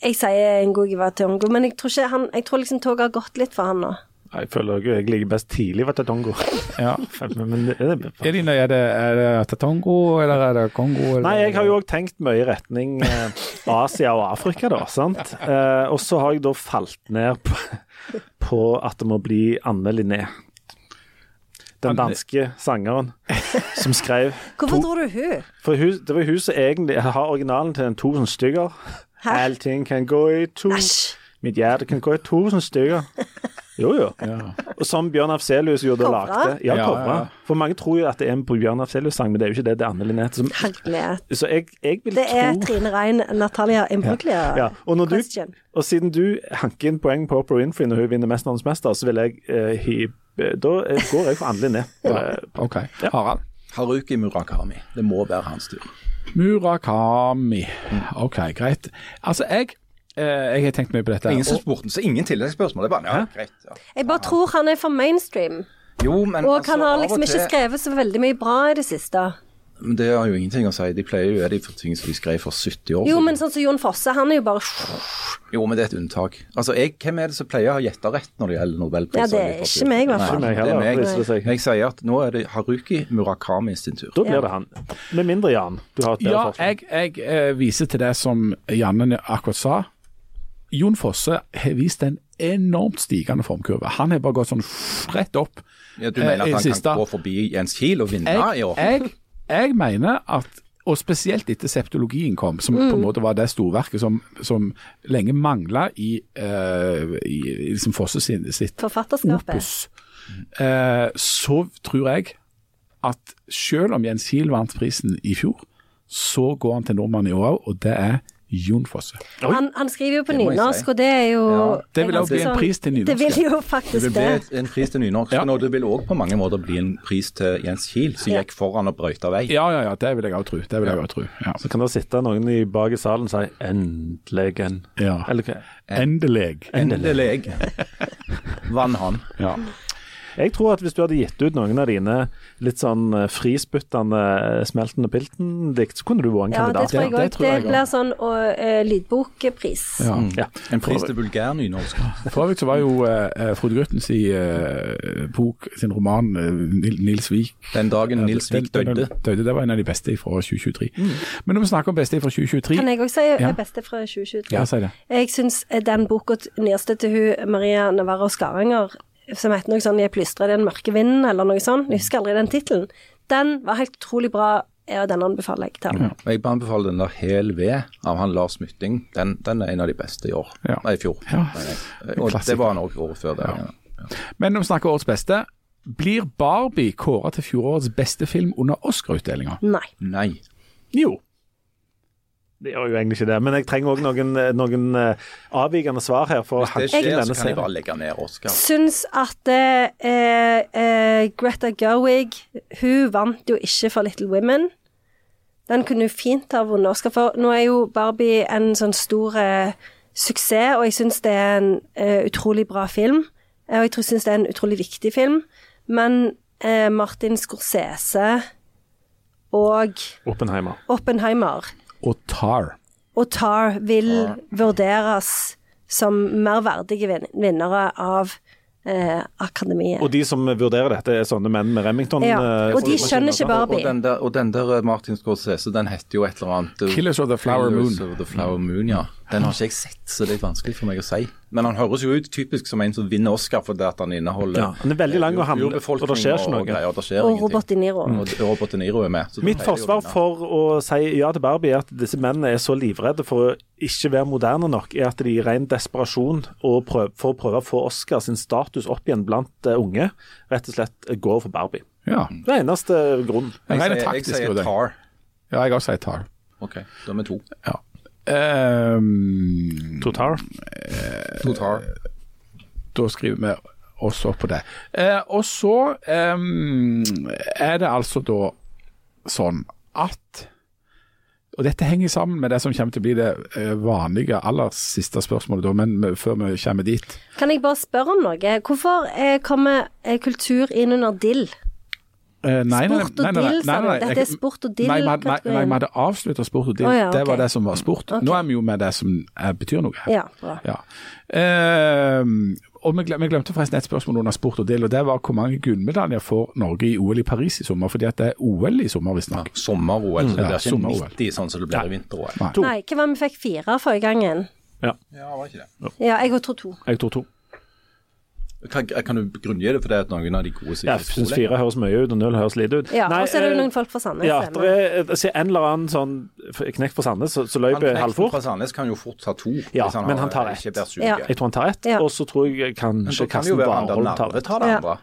Jeg sier Ngozi Wationgo, men jeg tror, ikke han, jeg tror liksom toget har gått litt for han nå.
Jeg føler jo jeg ligger best tidlig ved [LAUGHS] Tatongo.
Ja.
Men, men det, det,
Er det, er det, er det Tatongo, eller er det Kongo? Eller?
Nei, jeg har jo òg tenkt mye i retning eh, Asia og Afrika, da. sant? Eh, og så har jeg da falt ned på, på at det må bli Anne Linné. Den
Anne-
danske sangeren som skrev
Hvorfor tror du hun?
For hun, det var jo hun som egentlig har originalen til en 1000 stykker.
Hæ?
Allting kan gå i to,
Æsj.
mitt hjerte kan gå i 1000 stykker. Jo, jo. Og som Bjørn Afselius gjorde og
Covra?
lagde. Ja,
Ja, ja,
covra.
ja.
For mange tror jo at det er en Bjørn Afselius-sang, men det er jo ikke det. Det er Anne Linné. som-
Herlighet.
Så jeg, jeg vil
Det er
tro
Trine Rein, Natalia Imbruglia.
Ja, og, når du,
Question.
og siden du hanker inn poeng på Oprah Winfrey når hun vinner Mesternes mester, så vil jeg eh, hi, eh, Da eh, går jeg for Anne Linné. Eh,
Ok, Harald.
Haruki Murakami. Det må være hans tur.
Murakami. Ok, greit. Altså, jeg, eh, jeg har tenkt mye på dette.
Ingen som
og-
spurte, så ingen tilleggsspørsmål. Det er bare, ja, greit. Ja.
Jeg bare tror han er for mainstream,
Jo, men
og
altså,
han har
av
liksom
og
ikke
til-
skrevet så veldig mye bra i det siste.
Men Det har jo ingenting å si. De pleier jo å gjøre det for ting som de skrev for 70 år
Jo,
siden.
men sånn som Jon Fosse, han er jo bare
Jo, men det er et unntak. Altså, jeg, Hvem er det som pleier å ha gjetta rett når det gjelder nobelpriser?
Ja, det er ikke meg, i hvert fall.
Ikke meg
Det
heller,
er
viser det seg.
meg. Jeg sier at nå er det Haruki Murakami sin tur.
Da blir det han. Med mindre Jan. Du har et bedre
Ja,
forslag.
jeg, jeg eh, viser til det som Janne akkurat sa. Jon Fosse har vist en enormt stigende formkurve. Han har bare gått sånn rett opp.
Ja, du
Eh,
mener
i
at han
siste.
kan gå forbi Jens Kiel og vinne i
Jeg,
år?
jeg, jeg mener at og spesielt etter septologien kom, som på en måte var det storverket som, som lenge mangla i, eh, i, i liksom Fosse sin, sitt
forfatterskapet.
opus, eh, så tror jeg at selv om Jens Kiel vant prisen i fjor, så går han til nordmannen i år òg, og det er Jon Fosse.
Han, han skriver jo på
må jeg
nynorsk,
si.
og det er jo
det vil
er
også bli
ganske
en pris til
sånn- Det
nynorske.
vil jo
Det vil
faktisk
bli
det.
et- en pris til nynorsken,
Ja.
og det vil òg på mange måter bli en pris til Jens Kiel, som
Ja.
gikk foran og brøyta vei.
Ja, ja, ja, det vil jeg òg tro. Det vil jeg også tro. Ja.
Så kan det sitte noen i bak i salen og si 'endelig en'.
Ja.
Eller hva?
Endelig. [LAUGHS]
Endelig vann han.
Ja.
Jeg tror at hvis du hadde gitt ut noen av dine litt sånn eh, frispyttende eh, Smelten og Pilten-dikt, så kunne du vært en
Ja, det
kandidat.
tror jeg
Ja, det
òg.
tror
Det
jeg også.
blir sånn og, eh, lydbokpris.
Ja. Mm.
Ja.
En pris til vulgær nynorsk.
For øvrig så var jo eh, Frode Gruttens i eh, bok, sin roman eh, Nil- Nils Vik
Den dagen Nils Vik
Den- den-
døde. Mm.
døde. Det var en av de beste fra 2023. Men når vi snakker om beste fra 2023
Kan jeg òg si
Ja.
er beste fra 2023?
Ja, si det.
Jeg syns eh, den boka t- nyeste til hun Maria Navarro Skaranger, som heter noe sånn 'Jeg plystrer i den mørke vinden', eller noe sånt, jeg husker aldri den tittelen, den var helt utrolig bra Ja, den anbefaler jeg til alle.
Og Jeg bare anbefaler den der Hel ved av han Lars Mytting. Den, den er en av de beste i år.
Ja.
Nei, i fjor.
Ja.
mener jeg. Og
Klassiker.
det var han òg året før det. Ja.
Men når vi snakker årets beste, blir Barbie kåra til fjorårets beste film under Oscar-utdelinga?
Nei.
Nei.
Jo.
Det gjør jo egentlig ikke det, men jeg trenger òg noen, noen eh, avvikende svar her. for å
Det
hanke inn denne
skjer, så kan
serien.
jeg bare legge ned Oscar.
Syns at eh, eh, Greta Gerwig Hun vant jo ikke for Little Women. Den kunne hun fint ha vunnet Oscar for. Nå er jo Barbie en sånn stor eh, suksess, og jeg syns det er en eh, utrolig bra film. Eh, Og jeg tror syns det er en utrolig viktig film. Men eh, Martin Scorsese og
Oppenheimer.
Oppenheimer
Og Tar.
og Tar vil vurderes som mer verdige vin vinnere av eh, akademiet.
Og de som vurderer dette, er sånne menn med Remington.
Ja,
eh,
og de
formasjoner,
skjønner ikke
sant?
bare-
Og, og, den der, og den der eh, Martin Scorsese, den heter jo et eller annet eh,
Killers of the Flower
Killers
Moon.
of the Flower Moon, ja. Den har ikke jeg sett, så det er litt vanskelig for meg å si. Men han høres jo ut typisk som en som vinner Oscar fordi at han inneholder
Ja, han er veldig lang og handler,
urbefolkning
og det skjer ikke noe.
Og, greier, og, det skjer
Og
ingenting.
Robert De Niro.
Og Robert De Niro er med. så da
Mitt
pleier de å
forsvar
vinne.
for å si ja til Barbie er at disse mennene er så livredde for å ikke være moderne nok, er at de i ren desperasjon og prøv, for å prøve å få Oscar sin status opp igjen blant eh, unge, rett og slett eh, går for Barbie.
Ja.
Det er eneste eh, grunnen.
Jeg,
Mm.
jeg,
Jeg, sier- jeg
taktisk,
sier
Rudi.
Tar.
Ja, jeg også sier Tar.
Ok, da er vi to.
Ja. Ehm,
Totar.
To Tar.
da skriver vi oss opp på det. Eh, og så ehm, er det altså da sånn at og Dette henger sammen med det som kommer til å bli det eh, vanlige aller siste spørsmålet, da, men vi- før vi kommer dit.
Kan jeg bare spørre om noe? Hvorfor eh, kommer eh, kultur inn under dill?
Eh, nei, nei,
Sport og
nei, nei, nei,
dill, sa du.
nei, nei,
Dette
jeg-
er sport og
Nei, vi hadde- nei, nei, vi
dill-kategorien.
hadde avslutta sport og dill.
Å ja,
Det var
ok.
det som var sport. Nå er vi jo med det som eh, betyr noe. her.
Ja, bra.
Ja. Ehm, og vi glem- vi glemte forresten et spørsmål under sport og del, og det var hvor mange gullmedaljer får Norge i OL i Paris i sommer? Fordi at det er OL i sommer, visstnok.
Sommer-OL, så det
Ja,
blir ikke
sommer-OL.
90 sånn som det blir i vinter-OL.
Nei.
Nei, hva var det vi fikk fire forrige gangen?
Ja, var ikke det.
Ja, jeg og tror to.
Jeg tror to.
Kan, kan du grunngi det for det at noen av de gode sier
Jeg syns fire høres mye ut, og null høres lite ut.
Ja,
Nei,
og så er det jo
eh,
noen folk fra Sandnes.
ja,
jeg
det er eh, altså, en eller annen sånn f- knekk fra Sandnes som som løp
Han
halvfort.
fra Sandnes kan jo fort ta to.
Ja,
hvis
men
har-
han tar ett.
Ikke blir syk.
Ja.
Jeg tror han tar ett,
Ja.
og så tror jeg
Men så
kanskje
kan det jo
Karsten
være han der
Warholm tar
Narve
ett.
tar det
Ja.
andre.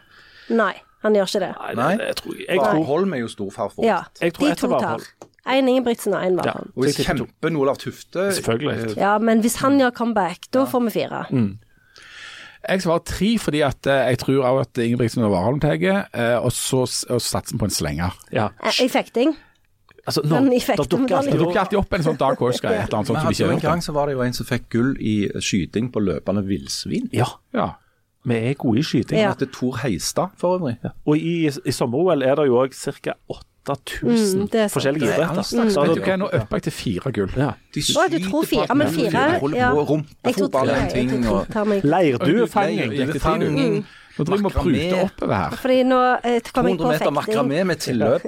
Nei, han gjør ikke det.
Nei,
Nei.
jeg tror, jeg tror
Warholm er jo storfar for
Ja,
alt.
de
Jeg tror ett
to
var
tar.
Holm.
Én Ingebrigtsen og én
Ja.
Warholm.
Og
Så jeg tipper to.
kjempen Olav Tufte
Selvfølgelig.
Ja, men hvis han gjør comeback, da får vi fire.
Mm.
Jeg svarer tre fordi at eh, jeg tror også at Ingebrigtsen og Warholm tar, eh, og så s- og satsen på en slenger.
Ja.
Eh, Jeg fikk ding.
Altså, nå,
Men i
da
effekten
dukker
var
Det
alltid
dukker alltid opp en sånn Dark Horse-greie, et eller annet sånt
Men
som de
altså,
ikke har
en
gjort.
gang så var det jo en som fikk gull i skyting på løpende villsvin.
Ja,
Ja.
vi er gode i skyting.
Ja.
Han heter Tor Heistad for øvrig.
Og i, i sommer-OL er det jo òg ca. 8000
Mm, det er sant.
forskjellige
Det er all
idretter.
slags
Så
Vet
det-
du hva, nå upper jeg til fire gull.
Ja.
De
Å, du tror fire, men fire,
Holder
ja.
på å rumpe
Jeg tror
fotball
tre.
er en
Jeg
ting.
tror
Og,
to tar meg.
Leirdue-fanging.
Gikk det tre, du?
Fanging.
Nå driver vi og
Makramé.
pruter oppover her.
Fordi nå eh, Mm. kom jeg
200
på
meter
fekting.
makramé
[LAUGHS]
med tilløp.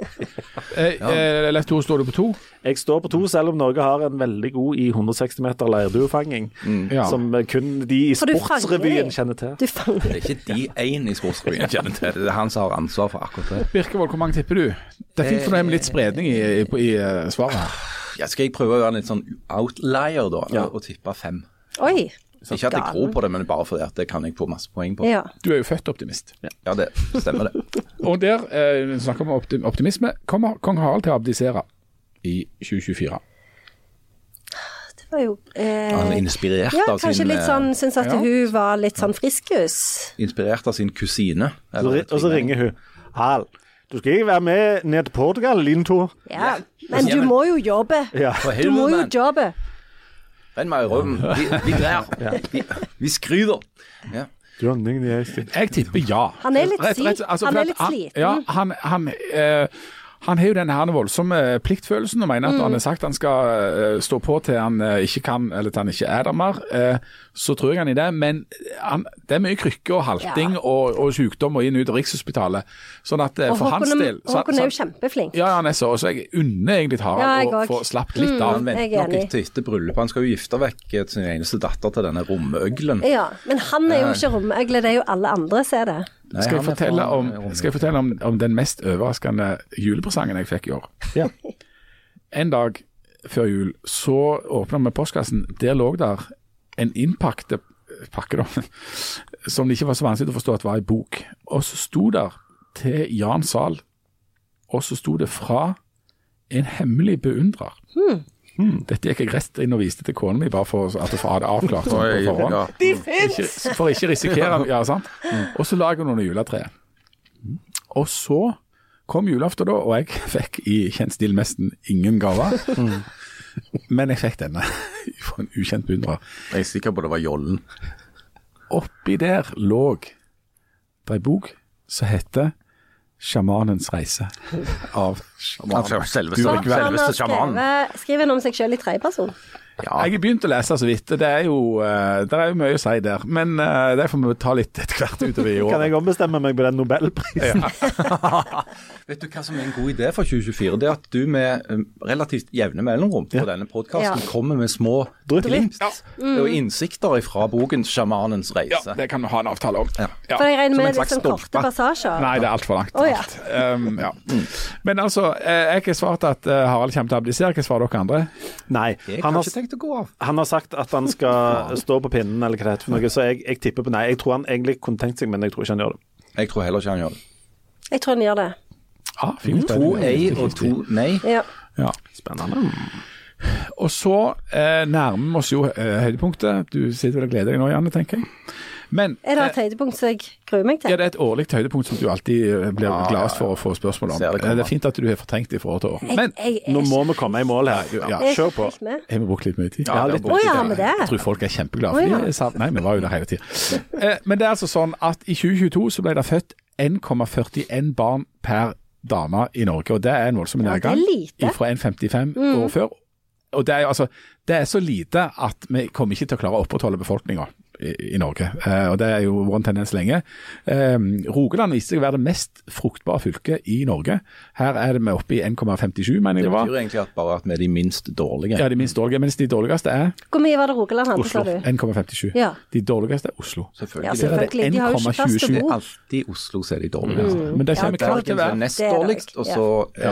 Eh, eh, Leif Tore, står du på to?
Jeg står på to, selv om Norge har en veldig god i 160 meter leirduefanging.
Mm.
Ja.
Som kun de i
For du fanger
Sportsrevyen
deg.
kjenner til.
Du fanger
Det er ikke de én i sportsrevyen jeg kjenner til. Det er han som har ansvar for akkurat det.
Birkevold, hvor mange tipper du? Det er fint for deg med litt spredning i, i, i, eh, svaret. her.
Ja, skal jeg prøve å være litt sånn outlier, da,
Ja.
og tippe fem?
Oi.
Ikke at jeg
gal.
tror på det, men bare fordi at det kan jeg få masse poeng på.
Ja.
Du er jo født optimist.
Ja, det stemmer, det.
Og der eh, vi snakker vi om opti- optimisme. Kommer kong Harald til å abdisere i 2024?
Det var jo eh,
Han er inspirert
Ja,
av
kanskje
sin
litt
eh,
sånn Syns at
ja.
hun var litt sånn friskus.
Inspirert av sin kusine.
Så ri- Og så ringer hun. Hal, du skal ikke være med ned til Portugal, lille Tor.
Ja. Men du må jo jobbe.
Ja.
Du må jo jobbe.
Renn meg i røven. Vi, vi greier. Vi, vi skryter. Ja.
Dronningen i Øystein.
Jeg tipper ja.
Han er litt
rett-
sli-
altså,
han
for
er
at
litt Mm. sliten.
Ja, han, han, eh, han har jo den her voldsomme pliktfølelsen og mener at
Mm.
når han har sagt han skal eh, stå på til han eh, ikke kan, eller til han ikke er der mer. eh, så tror jeg han i det, men eh, han, det er mye krykke og halting
Ja.
og, og sykdom og inn og ut av Rikshospitalet. Sånn at eh,
Og
for hans
Håkon,
del så-
Håkon er jo
så-
kjempeflink.
Ja, ja, han er så, og så jeg unner egentlig
Ja, jeg
Harald å
også.
få slappet litt av.
Han
Mm, Jeg
venter
er
nok
enig.
etter, etter bryllupet. Han skal jo gifte vekk eh, sin eneste datter til denne romøglen.
Ja, men han er jo ikke romøgle, det er jo alle andre som er det.
Skal jeg
han er
fortelle,
fra eh,
om,
Romerike.
skal jeg fortelle om, om den mest overraskende julepresangen jeg fikk i år?
Ja.
[LAUGHS] En dag før jul så åpna vi postkassen. Der lå der en innpakte pakke, da, [LAUGHS] som det ikke var så vanskelig å forstå at var ei bok. Og så sto der til Jan Sahl, og så sto det fra en hemmelig beundrer. Hmm, Dette gikk jeg rett inn og viste til kona mi, bare for at hun hadde avklart sånn på forhånd
ja. Mm.
ikke, for ikke risikere Ja, sant? Og så lager hun under juletreet. Og så kom julaften da, og jeg [LAUGHS] fikk i kjent stil nesten ingen gaver. Men jeg fikk denne [LAUGHS] fra en ukjent beundrer.
Jeg er sikker på det var Jollen.
Oppi der lå det ei bok som heter 'Sjamanens reise' av
Altså,
sjamanen.
selveste-
Du,
Så
Rikve.
han har
selveste sjamanen.
skrevet, skriver han om seg selv i tredjeperson.
Jeg har begynt å lese så vidt. Det er jo, eh, det er jo mye å si der. Men eh, det får vi ta litt etter hvert utover i år.
Kan jeg ombestemme meg på den nobelprisen?
Vet du hva som er en god idé for 2024? Det er at du med
eh,
um, relativt jevne mellomrom på denne podkasten
Ja.
kommer med små
Drypp.
glimt og innsikter fra boken 'Sjamanens reise'.
Ja, det kan vi ha en avtale om. Ja.
For jeg regner
Som
med
en
det er
slags
sånn korte
stolpe.
passasjer.
Nei, det er altfor langt.
Å, ja.
alt. Um, ja. Men altså, eh, jeg har svart at eh, Harald kommer til å abdisere. Hva svarer dere andre?
Nei.
Jeg
Han
har
har,
ikke tenkt å gå av.
han har sagt at han skal stå på pinnen, eller hva det heter for noe, så jeg, jeg tipper på nei. Jeg tror han egentlig kunne tenkt seg, men jeg tror ikke han gjør det.
Jeg tror heller ikke han gjør det.
Jeg tror han gjør det.
Ah, fint.
Mm. To ei og to nei.
Ja.
Ja.
Spennende.
Og så eh, nærmer vi oss jo eh, høydepunktet. Du sitter vel og gleder deg nå, Janne, tenker jeg. Men
Er det et høydepunkt som jeg gruer meg
ja,
til?
det er et årlig høydepunkt som du alltid eh, blir gladest for å få spørsmål om.
Ser det komme.
Eh, Det er fint at du har fortrengt det fra år til år.
Jeg,
Men
jeg,
Nå
jeg,
må vi komme i mål her.
Ja.
Ja, kjør på.
helt med.
har vi brukt litt mye tid?
Ja, det er
Å ja, med
Jeg
det.
tror folk er kjempeglade.
Å, ja.
for de sa- Nei, vi var jo der hele tida.
[LAUGHS]
Eh, Men det er altså sånn at i 2022 så ble det født 1,41 barn per dame i Norge. Og det er en voldsom
det er
nedgang
lite. Mm.
fra 1,55 år før. Og det er jo altså Det er så lite at vi kommer ikke til å klare å opprettholde befolkninga i, i Norge. Eh, og det er jo vært en tendens lenge. Eh, Rogaland viste seg å være det mest fruktbare fylket i Norge. Her er det vi oppe i 1,57, mener
Det
jeg det var.
betyr egentlig at bare at vi er de minst dårlige.
Ja, de minst dårlige. Mens de dårligste er
Hvor mye var det Rogaland hadde, sa du?
1,57.
Ja.
De dårligste er Oslo.
Ja,
Selvfølgelig.
Ser dere,
selvfølgelig. De har jo ikke plass til å
Det
bo.
er alltid Oslo som er de dårligste.
Mm. Men det
Ja,
kommer
Det er
klart
alltid
til å
de som er
være.
nest
Det er det
dårligst,
nok,
og
ja.
så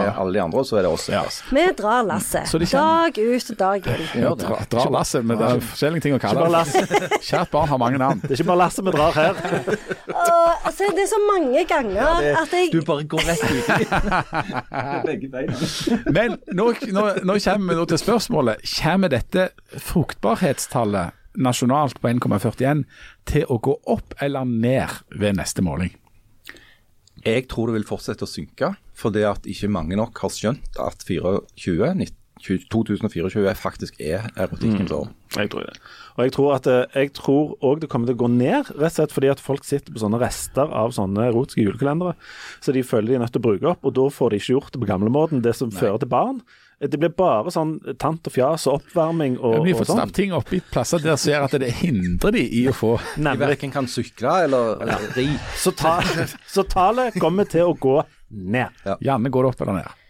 er alle de andre, og så er det oss.
Ja.
Vi drar lasset.
Så de kjenner-
Dag ut og dag
[LAUGHS]
inn.
Gjør det.
Dra, dra lasset, men det er forskjellige ting å kalle
Bare
det.
Lasse.
Kjært barn har mange navn.
Det er ikke bare Lasse vi drar her.
Og, altså, det er så mange ganger at jeg
Du bare går rett ut i begge beina.
Men nå, nå, nå kommer vi nå til spørsmålet. Kommer dette fruktbarhetstallet nasjonalt på 1,41 til å gå opp eller ned ved neste måling?
Jeg tror det vil fortsette å synke, fordi at ikke mange nok har skjønt at 24, 19, 2024 faktisk er erotikkens år.
Jeg tror det. Og jeg tror at eh, jeg tror òg det kommer til å gå ned, rett og slett fordi at folk sitter på sånne rester av sånne erotiske julekalendere. Så de føler de er nødt til å bruke opp, og da får de ikke gjort det på gamlemåten, det som fører til barn. Det blir bare sånn tant og fjas og oppvarming
Men
og,
vi har
og
fått
sånn.
stappet ting opp i plasser der som gjør at det hindrer de i å få
De
Nemlig.
verken kan sykle eller ri.
Så, ta, så tallet kommer til å gå ned.
Janne, går det opp eller ned?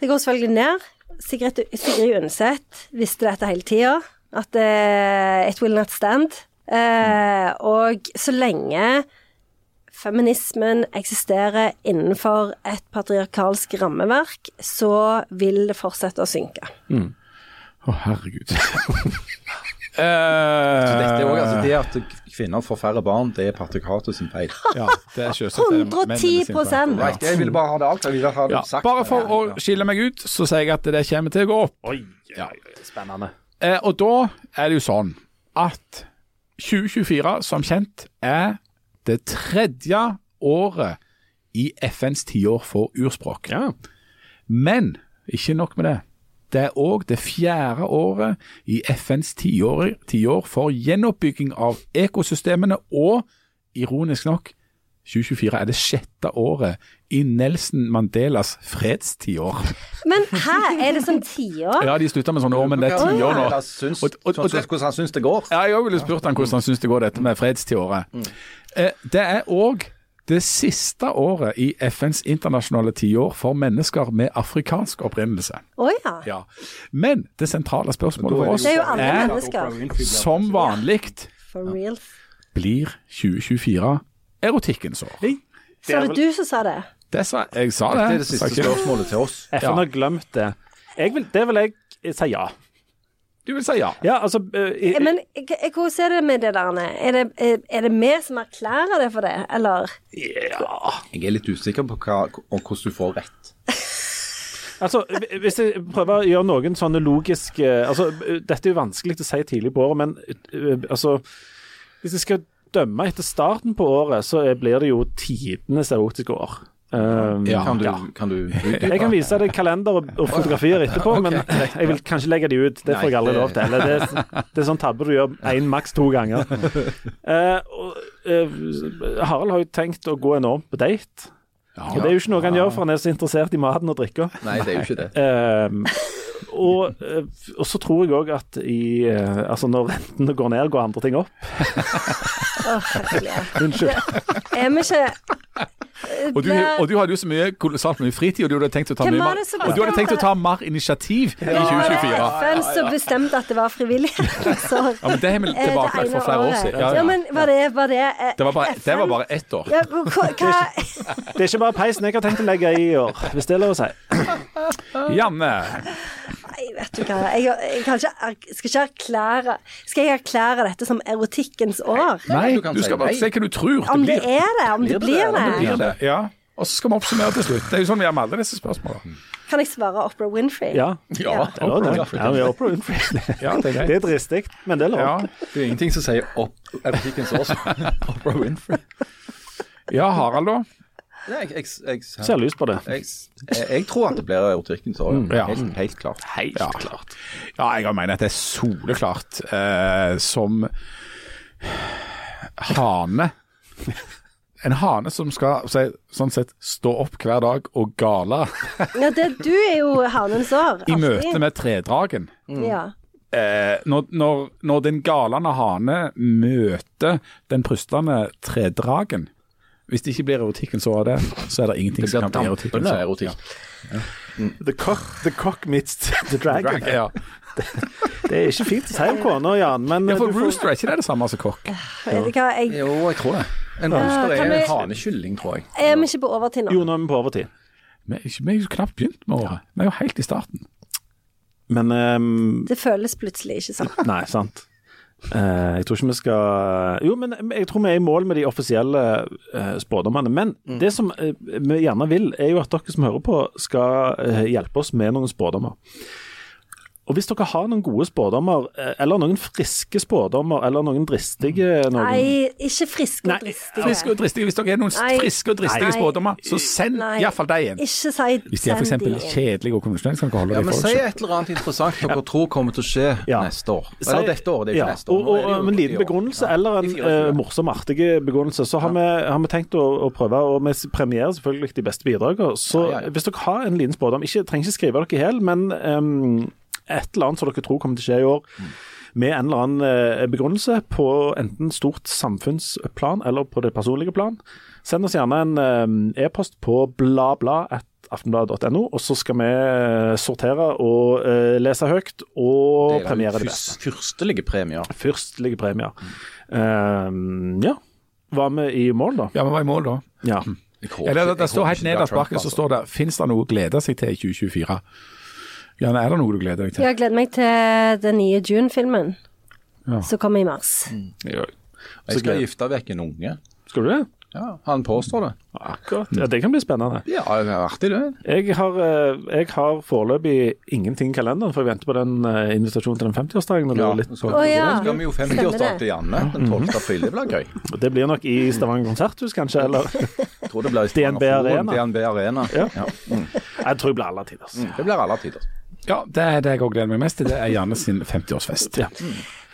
Det går selvfølgelig ned. Sigrid, Sigrid Undset visste dette hele tida, at eh, it will not stand. Eh, og så lenge feminismen eksisterer innenfor et patriarkalsk rammeverk, så vil det fortsette å synke.
Å, [LAUGHS] herregud. Eh,
Så dette er også, altså, det at kvinner får færre barn, det er patriarkatet sin
[LAUGHS]
feil.
ja, det er selvsagt det er mennene sin
110
feil.
Right, jeg ville bare ha det alt. Jeg ville ha det
Ja,
sagt.
bare for å skille meg ut, så sier jeg at det kommer til å gå opp.
Oi, oi, oi, spennende.
Eh, og da er det jo sånn at 2024, som kjent, er det tredje året i FNs tiår for urspråk.
Ja.
Men ikke nok med det. Det er òg det fjerde året i FNs tiår tiår for gjenoppbygging av ekosystemene, og ironisk nok 2024 er det sjette året i Nelson Mandelas fredstiår.
Men hæ, er det sånn tiår?
[LAUGHS] Ja, de slutta med sånne år, men det er
Hvordan
tiår nå.
han syns-
Og- og-
Sånn
og-
Hvordan han syns det går.
Ja, jeg ville spurt han hvordan han syns det går dette med fredstiåret. Eh, Det er òg det siste året i FNs internasjonale tiår for mennesker med afrikansk opprinnelse.
Å ja.
Ja. Men det sentrale spørsmålet for oss
Det er jo alle
er
mennesker.
som vanlig
For real.
blir 2024 erotikken sår.
Så var det
vel-
du som sa det.
Det sa jeg. sa
Det
det.
er det
Sa
siste
ikke-
spørsmålet til oss.
FN
Ja.
har glemt det. Jeg vil, det vil jeg si ja.
Du vil si ja.
Ja, altså eh, i-
Eh, Men eh, eh, hvordan er det med det der, Anne? Er det, eh, er det vi som erklærer det for det, eller?
Jeg er litt usikker på hva, om hvordan du får rett.
Altså, Hvis jeg prøver å gjøre noen sånne logiske altså, Dette er jo vanskelig å si tidlig på året, men uh, altså Hvis jeg skal dømme etter starten på året, så er- blir det jo tidenes erotiske år. Um,
Ja.
Kan du, kan du utdype?
Jeg kan vise deg kalender og, og fotografier etterpå, men jeg vil kanskje legge de ut. Det får jeg aldri lov til. Eller det, er- det er sånn tabbe du gjør én, maks to ganger. Eh, og, eh, Harald har jo tenkt å gå enormt på date. Og det er jo ikke noe han gjør, for han er så interessert i maten og drikka.
Nei, det er jo ikke det.
Ehm, og, eh, og så tror jeg òg at i, eh, altså når rentene går ned, går andre ting opp.
Å, herregud.
Unnskyld.
Er vi ikke eh,
Og du,
blir-
og du hadde jo så mye kolossalt mye fritid, og du hadde tenkt å ta,
Hvem
mye
var
mer,
det som
og du hadde
bestemte
tenkt å ta mer initiativ i
Det
2024.
var FN som bestemte at det var frivillighetens år.
[LAUGHS] Ja, men det har vi
Eh,
tilbakelagt
ene
for flere år
året.
siden.
Ja,
Ja, ja.
men var det, var det, eh,
Det var bare,
FN?
det var bare ett år.
ja, hva,
[LAUGHS]
hva- [LAUGHS]
Det er ikke bare peisen jeg har tenkt å legge i i år, hvis det er lov å si.
Janne,
Nei, vet du hva. Jeg, jeg kan ikke, erk- skal ikke erklære Skal jeg erklære dette som erotikkens år?
nei,
du kan
du
si
skal bare
nei.
se hva du tror det
Om det
blir.
er det, om det blir det.
Blir det. Ja. Og så skal vi oppsummere til slutt. Det er jo sånn vi gjør med alle disse spørsmålene.
Kan jeg svare Opera Winfrey?
Ja.
Ja,
Det var det. Ja, vi er Oprah Winfrey.
Ja, det er
Det er
greit.
dristig, men det er lov.
Ja.
Det er ingenting som sier opp erotikkens
[LAUGHS]
år som Oprah Winfrey.
ja, Harald, da?
Nei, jeg, jeg, jeg, jeg,
Ser lyst på det.
jeg, jeg tror at det blir erotikkens år.
Mm, Ja.
Helt, helt klart.
Helt klart.
Ja, jeg mener at det er soleklart eh, som hane. En hane som skal si, sånn sett stå opp hver dag og gale
Ja, det, du er jo hanens år.
i
alltid.
møte med tredragen.
Ja.
Eh, når, når, når den galende hane møter den prustende tredragen Hvis det ikke blir erotikken så av det, så er det ingenting som kan bli erotikken.
Dampende erotikk.
The cock, the cock meets the dragon.
Ja.
Det er ikke fint å si om kona, Jan, men
ja, for
du får-
rooster er ikke det det samme som kokk.
Vet du hva, jeg
Jo, jeg tror det. En rooster
kan
er
vi-
en hanekylling, tror jeg.
er vi ikke på overtid nå.
Jo, nå er vi på overtid.
Vi er ikke- vi er jo knapt begynt med året. Vi er jo helt i starten.
Men ehm,
Det føles plutselig ikke sånn.
Nei, sant. Eh, jeg tror ikke vi skal Jo, men jeg tror vi er i mål med de offisielle eh, spådommene. Men det som eh, vi gjerne vil, er jo at dere som hører på, skal eh, hjelpe oss med noen spådommer. Og hvis dere har noen gode spådommer, eh, eller noen friske spådommer, eller noen dristige noen
Nei, ikke friske
Nei,
og dristige.
Friske og dristige. Hvis dere er noen
Nei.
friske og dristige
Nei.
spådommer, så send
Nei.
iallfall deg en.
Ikke si
Hvis de er
send de
f.eks.
inn.
kjedelige og konvensjonelle, så kan dere holde
Ja,
dem
men
for
Si
deg selv.
et eller annet interessant dere tror kommer til å skje
Ja.
neste år.
Si-
Eller dette året, det er jo
Ja,
ikke neste år.
Og, og,
Nå er det jo
og en
i
liten
år.
begrunnelse,
Ja.
eller
I
en
fire og
eh,
tjue.
morsom, artig begrunnelse. Så har, vi, har vi tenkt å, å prøve, og vi premierer selvfølgelig de beste bidragene. Så
Ja, ja, ja.
hvis dere har en liten spådom, ikke, trenger ikke skrive dere i hjel, men ehm, et eller annet som dere tror kommer til å skje i år,
Mm.
med en eller annen eh, begrunnelse, på enten stort samfunnsplan eller på det personlige plan, send oss gjerne en ehm, e-post på blabla.aftenbladet.no, og så skal vi eh, sortere og eh, lese høyt og
Det er jo
premiere det beste.
fyrst- Fyrstelige premier.
Fyrstelige premier. Ehm, ja. Var vi i mål, da?
Ja, vi var i mål da.
Ja.
Ja, det, det, det står helt nederst bak,
altså.
så står det 'Fins det noe å glede seg til i 2024'? Janne, er det noe du gleder deg til?
Jeg gleder meg til den nye June-filmen som kommer i mars.
Mm. Jeg skal gifte vekk en unge.
Skal du det?
Ja, han påstår det.
Akkurat. Ja, Det kan bli spennende.
Ja, det er artig det.
Jeg har, eh, jeg har foreløpig ingenting i kalenderen, for jeg venter på den eh, invitasjonen til den 50-årsdagen. og lurer litt
så
Å, ja.
så skal vi jo
Stemmer det.
50-årsdag til Janne den 12. april. Det blir gøy.
på- Det blir nok i Stavanger konserthus, kanskje? Eller
[LAUGHS] Jeg tror det blir i
DNB
Stavanger Forum,
Arena.
DNB Arena.
Ja.
Ja. Mm.
Jeg tror det blir alle tider. altså.
Det blir alle tider.
Ja, det er det jeg òg gleder meg mest til. Det er Janne sin 50-årsfest.
Ja.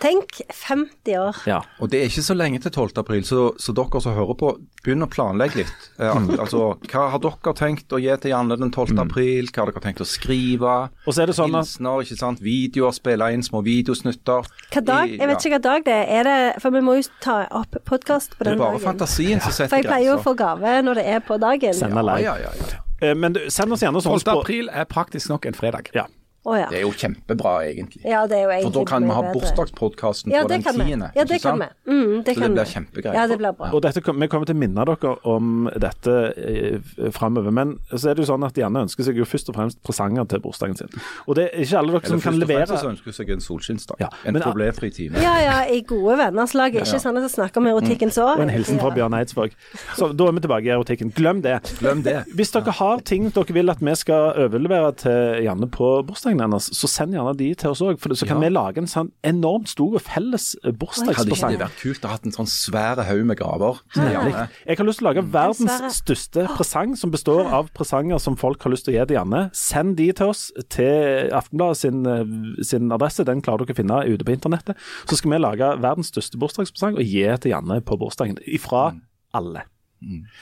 Tenk 50 år.
Ja.
Og det er ikke så lenge til 12. april, så, så dere som hører på, begynn å planlegge litt. Eh, al- altså, hva har dere tenkt å gi til Janne den 12. april? Hva har dere tenkt å skrive?
Og så er det sånn at
Hilsener, ikke sant? Videoer, spille inn små videosnutter.
Hva dag? Jeg vet ikke hva dag det er. er. det, For vi må jo ta opp podkast på
Det
den
er bare altså.
dagen.
fantasien som
For
setter
jeg pleier jo å
grenser.
få gave når det er på dagen.
Send meg
Ja,
live.
ja, ja, ja.
Eh, Men du, send oss gjerne
12.
sånn spå...
april er praktisk nok en fredag.
Ja.
Å ja.
Det er jo kjempebra, egentlig.
ja. Det er jo egentlig
For da kan vi ha
mye bedre.
bursdagspodkasten
ja,
på
det
den
kan vi.
tiende.
Ja,
ikke
det kan vi.
sant?
Mm, det
Så
kan
det blir
vi.
kjempegreit.
Ja, det blir bra.
Og dette, kom- vi kommer til å minne dere om dette eh, framover. Men så er det jo sånn at Janne ønsker seg jo først og fremst presanger til bursdagen sin. Og det er ikke alle dere
Eller
som kan
først og fremst
levere.
så ønsker hun seg en solskinnsdag.
Ja,
en
men-
problemfri time.
Ja, ja, i gode venners lag. Ikke sånn at vi snakker om erotikkens år.
Og en hilsen fra Bjørn Eidsvåg. Så da er vi tilbake i erotikken. Glem det.
Glem det.
Hvis dere har ting dere vil at vi skal overlevere til Janne på bursdagen hennes, så send gjerne de til oss òg, for så kan vi lage en sånn enormt stor felles eh,
Hadde ikke
bursdagspresang.
det vært kult å ha hatt en sånn svær haug med gaver? Gjerne.
Jeg har lyst til å lage
svære.
verdens største presang, som består av presanger som folk har lyst til å gi til Janne. Send de til oss til Aftenbladet sin, eh, sin adresse, den klarer dere å finne ute på internettet. Så skal vi lage verdens største bursdagspresang og gi til Janne på bursdagen. Ifra
Mm.
alle.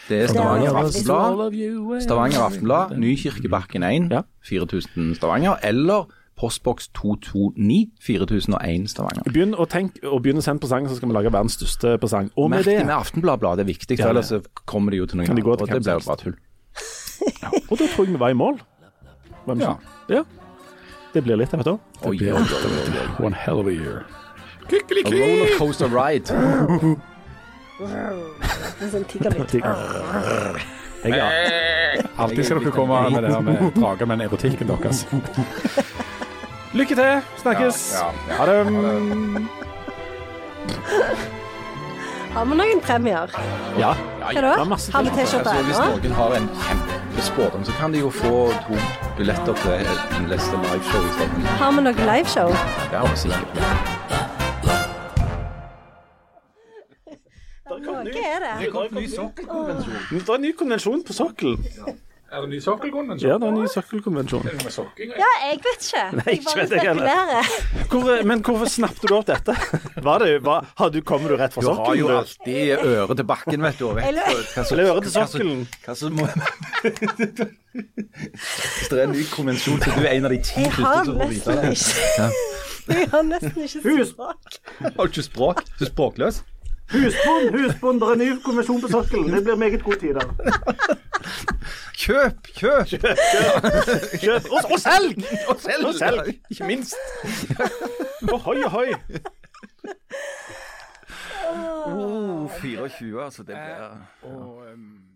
Det er Stavanger
Ja,
Aftenblad. Stavanger Aftenblad, Nykirkebakken 1,
Ja.
4000 Stavanger. Eller postboks 229, 4001 Stavanger.
Begynn å tenke, og begynn å sende presanger, så skal vi lage verdens største presang. Og med
Merk
det
det med Aftenbladet, det er viktig, for
Ja, ja.
ellers så kommer de jo til noen
Kan de gå
andre,
til
og
hvem
det
som
blir jo
helst?
bare tull.
Og da tror jeg vi var i mål. Hvem som? Ja. Det blir litt, jeg vet du.
Oi, oi, oi, oi.
One hell of a year.
A rollercoaster ride.
En sånn tiggerlyd.
Jeg, ja.
Alltid skal dere komme med det der med drager, men erotikken deres.
Lykke til. Snakkes.
Ja, ja, ja.
Ha det.
Har vi noen premier?
Ja.
Hva da?
er masse
Har vi T-skjorte
Altså, hvis
ennå?
noen har en kjempespådom, så kan de jo få to billetter til en neste liveshow i stedet.
Har vi noe liveshow?
Det har vi sikkert.
Hva er det?
Det er en ny konvensjon på sokkelen.
Er det ny sokkelkonvensjon?
Ja, det er en ny sokkelkonvensjon.
Ja, jeg vet ikke. Jeg
ikke
bare
vet jeg heller.
spekulerer.
Hvor- eh, Men hvorfor snappet du opp dette? Var det, var, har du, kommer du rett fra
Du har jo
sokkelen?
alltid øret til bakken, vet du. Og vet,
Eller-
hva som-
Eller øret til
hva som-
sokkelen.
hva som må... [LAUGHS] Hvis det er en ny konvensjon, så du er en av de ti
Jeg
første
har
som får vite
nesten
det.
ikke Jeg har nesten ikke språk.
Har du ikke språk? Du er språkløs.
Husbond, husbond, det er en ny konvensjon på sokkelen. Det blir meget god tid der.
Kjøp, kjøp!
Kjøp og, og selg!
Og selg!
Og selg.
Ikke minst.
Ohoi, ohoi.
Oh, 24, altså. Det blir
Eh, Og um,